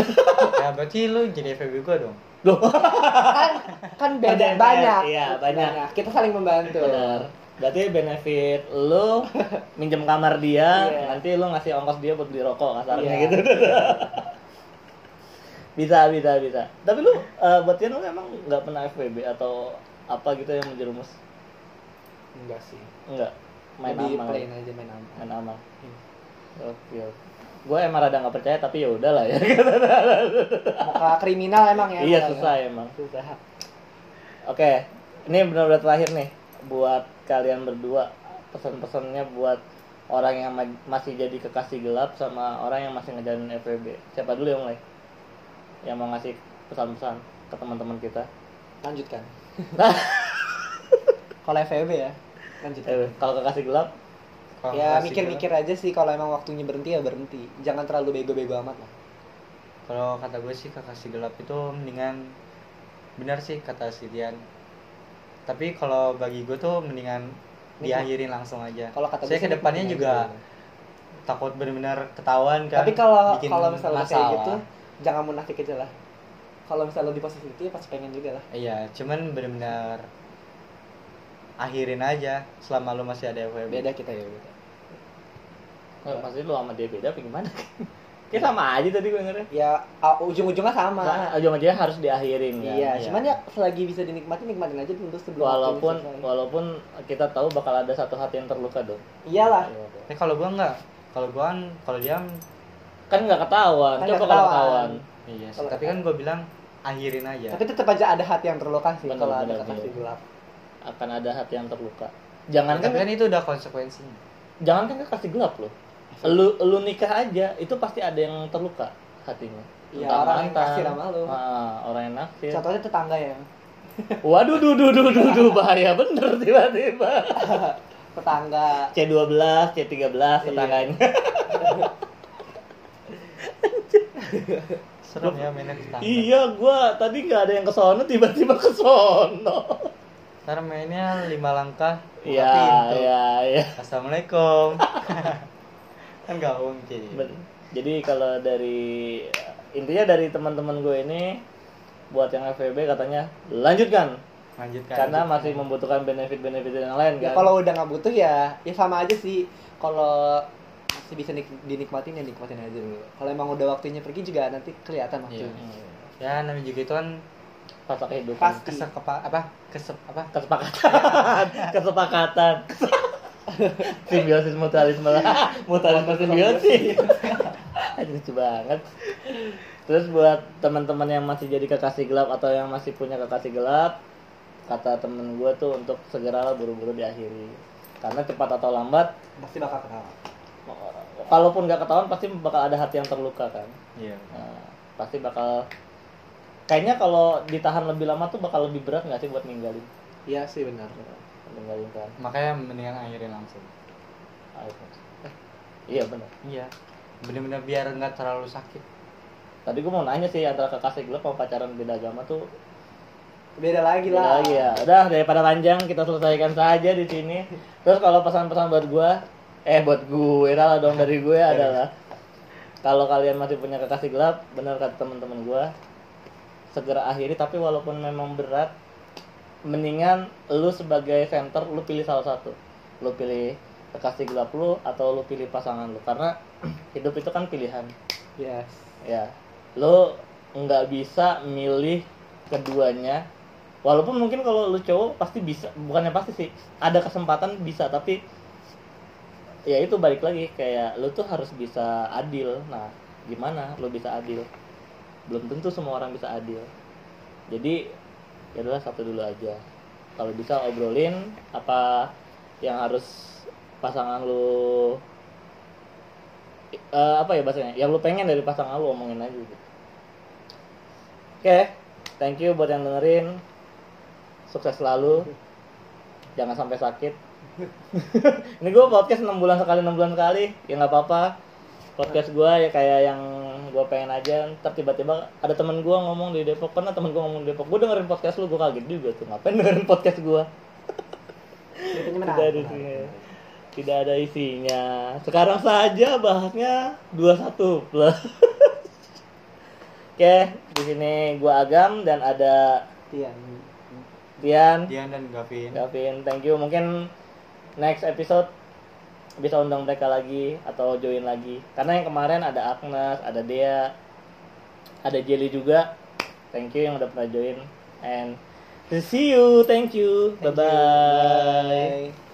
S3: ya berarti lu jadi FB gua dong
S2: kan kan
S1: Beda,
S2: beda banyak. Nah,
S1: iya, banyak.
S2: Kita saling membantu.
S1: Benar. Berarti benefit lu minjem kamar dia,
S2: Iya.
S1: nanti lu ngasih ongkos dia buat beli rokok kasarnya
S2: Iya.
S1: gitu. bisa, bisa, bisa. Tapi lu eh buat Tian lu emang nggak pernah FWB atau apa gitu yang menjerumus?
S2: Enggak sih.
S1: Enggak. Main
S2: Lebih
S1: aman.
S2: plain aja main aman.
S1: Main aman.
S3: Iya.
S1: Oke. Gue emang rada nggak percaya tapi ya udahlah ya.
S2: Iya, Muka kriminal emang ya.
S1: iya
S2: orangnya.
S1: susah emang.
S2: Susah.
S1: Oke, ini benar-benar terakhir nih buat kalian berdua pesan-pesannya buat orang yang ma- masih jadi kekasih gelap sama orang yang masih ngejalanin FWB. Siapa dulu yang mulai? Yang mau ngasih pesan-pesan ke teman-teman kita.
S2: Lanjutkan. Kalau FEB ya. Lanjutkan.
S1: Eh, kalau kekasih gelap,
S3: Kalau
S2: Ya
S3: kasih
S2: mikir-mikir aja sih kalau emang waktunya berhenti ya berhenti. Jangan terlalu bego-bego amat lah.
S3: gelap- kalau kata gue sih kekasih gelap itu mendingan benar sih kata si Dian tapi kalau bagi gue tuh mendingan
S2: Nikmat.
S3: diakhirin langsung aja
S2: Kalau kata gue
S3: saya
S2: sih
S3: kedepannya
S2: nikmatin
S3: juga
S2: aja. gitu.
S3: takut benar-benar ketahuan kan
S2: Tapi kalau
S3: bikin
S2: kalau misalnya kayak
S3: masalah.
S2: gitu jangan munafik aja lah. Kalau misalnya lo di posisi itu ya pasti pengen juga lah.
S3: Iya, cuman benar-benar akhirin aja selama lu masih ada FWB.
S2: Beda kita ya beda.
S1: eh, pasti lu sama dia beda apa gimana? Kayak sama aja tadi gue ngerti.
S2: Ya ah, ujung-ujungnya sama.
S1: Ujung aja harus diakhirin kan.
S2: Iya,
S3: Iya.
S2: cuman ya selagi bisa dinikmati nikmatin aja dulu sebelum
S1: Walaupun
S2: waktunya selesai.
S1: walaupun kita tahu bakal ada satu hati yang terluka dong.
S2: iyalah
S3: Tapi kalau gua enggak, kalau gua kan kalau dia
S1: Kan nggak ketahuan.
S2: Kan nggak
S1: Coba kalau
S2: ketahuan.
S1: ketahuan.
S3: iya sih,
S2: Kalau-
S3: tapi kan gua bilang akhirin aja.
S2: tapi tetap aja ada hati yang terluka sih
S1: Bener,
S2: kalau ada
S1: bener,
S2: kekasih
S1: bener.
S2: gelap
S1: akan ada hati yang terluka. Jangan
S3: tapi
S1: kan,
S3: kan itu udah konsekuensinya.
S1: jangan kan kasih gelap loh. Lu lu nikah aja itu pasti ada yang terluka hatinya.
S2: Iya,
S1: Entah
S2: orang yang naksir sama lu.
S1: Ah, orang yang naksir.
S2: contohnya tetangga ya
S1: Waduh, duh, duh, duh, duh, duh, bahaya bener tiba-tiba.
S2: tetangga
S1: C12, C13
S2: Iya.
S1: tetangganya.
S3: Serem ya mainnya tetangga.
S1: Iya, gua tadi nggak ada yang ke sono tiba-tiba ke sono.
S3: Ntar mainnya lima langkah buka
S1: Iya,
S3: pintu.
S1: iya, iya.
S3: Assalamualaikum. kan enggak mungkin.
S1: Ben- Jadi kalau dari intinya dari teman-teman gue ini buat yang FVB katanya lanjutkan
S3: Lanjutkan.
S1: karena masih membutuhkan benefit-benefit yang lain
S2: ya
S1: kan.
S2: kalau udah nggak butuh ya ya sama aja sih kalau masih bisa nik- dinikmatin ya nikmatin aja
S1: Iya. Hmm.
S2: dulu kalau emang udah waktunya pergi juga nanti kelihatan waktunya
S3: ya namanya juga itu kan
S1: fase kehidupan
S2: Pas-
S3: kesekepa apa kesep apa
S1: kesepakatan kesepakatan simbiosis mutualisme lah mutualisme simbiosis Aduh, lucu banget terus buat teman-teman yang masih jadi kekasih gelap atau yang masih punya kekasih gelap kata temen gue tuh untuk segeralah buru-buru diakhiri karena cepat atau lambat
S2: pasti bakal ketawa
S1: kalaupun nggak ketahuan pasti bakal ada hati yang terluka kan
S3: iya
S1: Nah, pasti bakal kayaknya kalau ditahan lebih lama tuh bakal lebih berat nggak sih buat ninggalin
S2: iya sih benar
S1: ninggalin kan
S3: makanya mendingan akhirin langsung
S1: iPhone. Eh, Iya benar.
S3: iya bener-bener biar nggak terlalu sakit
S1: Tadi gue mau nanya sih antara kekasih gelap sama pacaran beda agama tuh
S2: beda lagi
S1: beda
S2: lah
S1: lagi ya. Udah daripada panjang kita selesaikan saja di sini. Terus kalau pesan-pesan buat gue, eh buat gue lah dong dari gue adalah kalau kalian masih punya kekasih gelap, benar kata teman-teman gue, segera akhiri. Tapi walaupun memang berat, mendingan lu sebagai center lu pilih salah satu. Lu pilih kekasih gelap lu atau lu pilih pasangan lu karena hidup itu kan pilihan.
S2: yes
S1: ya lo nggak bisa milih keduanya walaupun mungkin kalau lo cowok pasti bisa bukannya pasti sih ada kesempatan bisa tapi ya itu balik lagi kayak lo tuh harus bisa adil nah gimana lo bisa adil belum tentu semua orang bisa adil jadi ya adalah satu dulu aja kalau bisa obrolin apa yang harus pasangan lu eh, apa ya bahasanya yang lu pengen dari pasangan lu omongin aja gitu oke thank you buat yang dengerin sukses selalu jangan sampai sakit ini gue podcast 6 bulan sekali 6 bulan sekali ya nggak apa-apa podcast gue ya kayak yang gue pengen aja ntar tiba-tiba ada temen gue ngomong di Depok pernah temen gue ngomong di Depok gue dengerin podcast lu gue kaget juga tuh ngapain dengerin podcast gue
S2: ceritanya
S1: tidak ada isinya tidak ada isinya sekarang saja bahasnya 21 plus oke di sini gua Agam dan ada
S2: Iya.
S1: Tian
S3: Dian dan
S1: Ya.
S3: Gavin
S1: Gavin thank you mungkin next episode bisa undang mereka lagi atau join lagi karena yang kemarin ada Agnes ada Dea ada Jelly juga thank you yang udah pernah join and see you thank you bye bye
S2: Bye.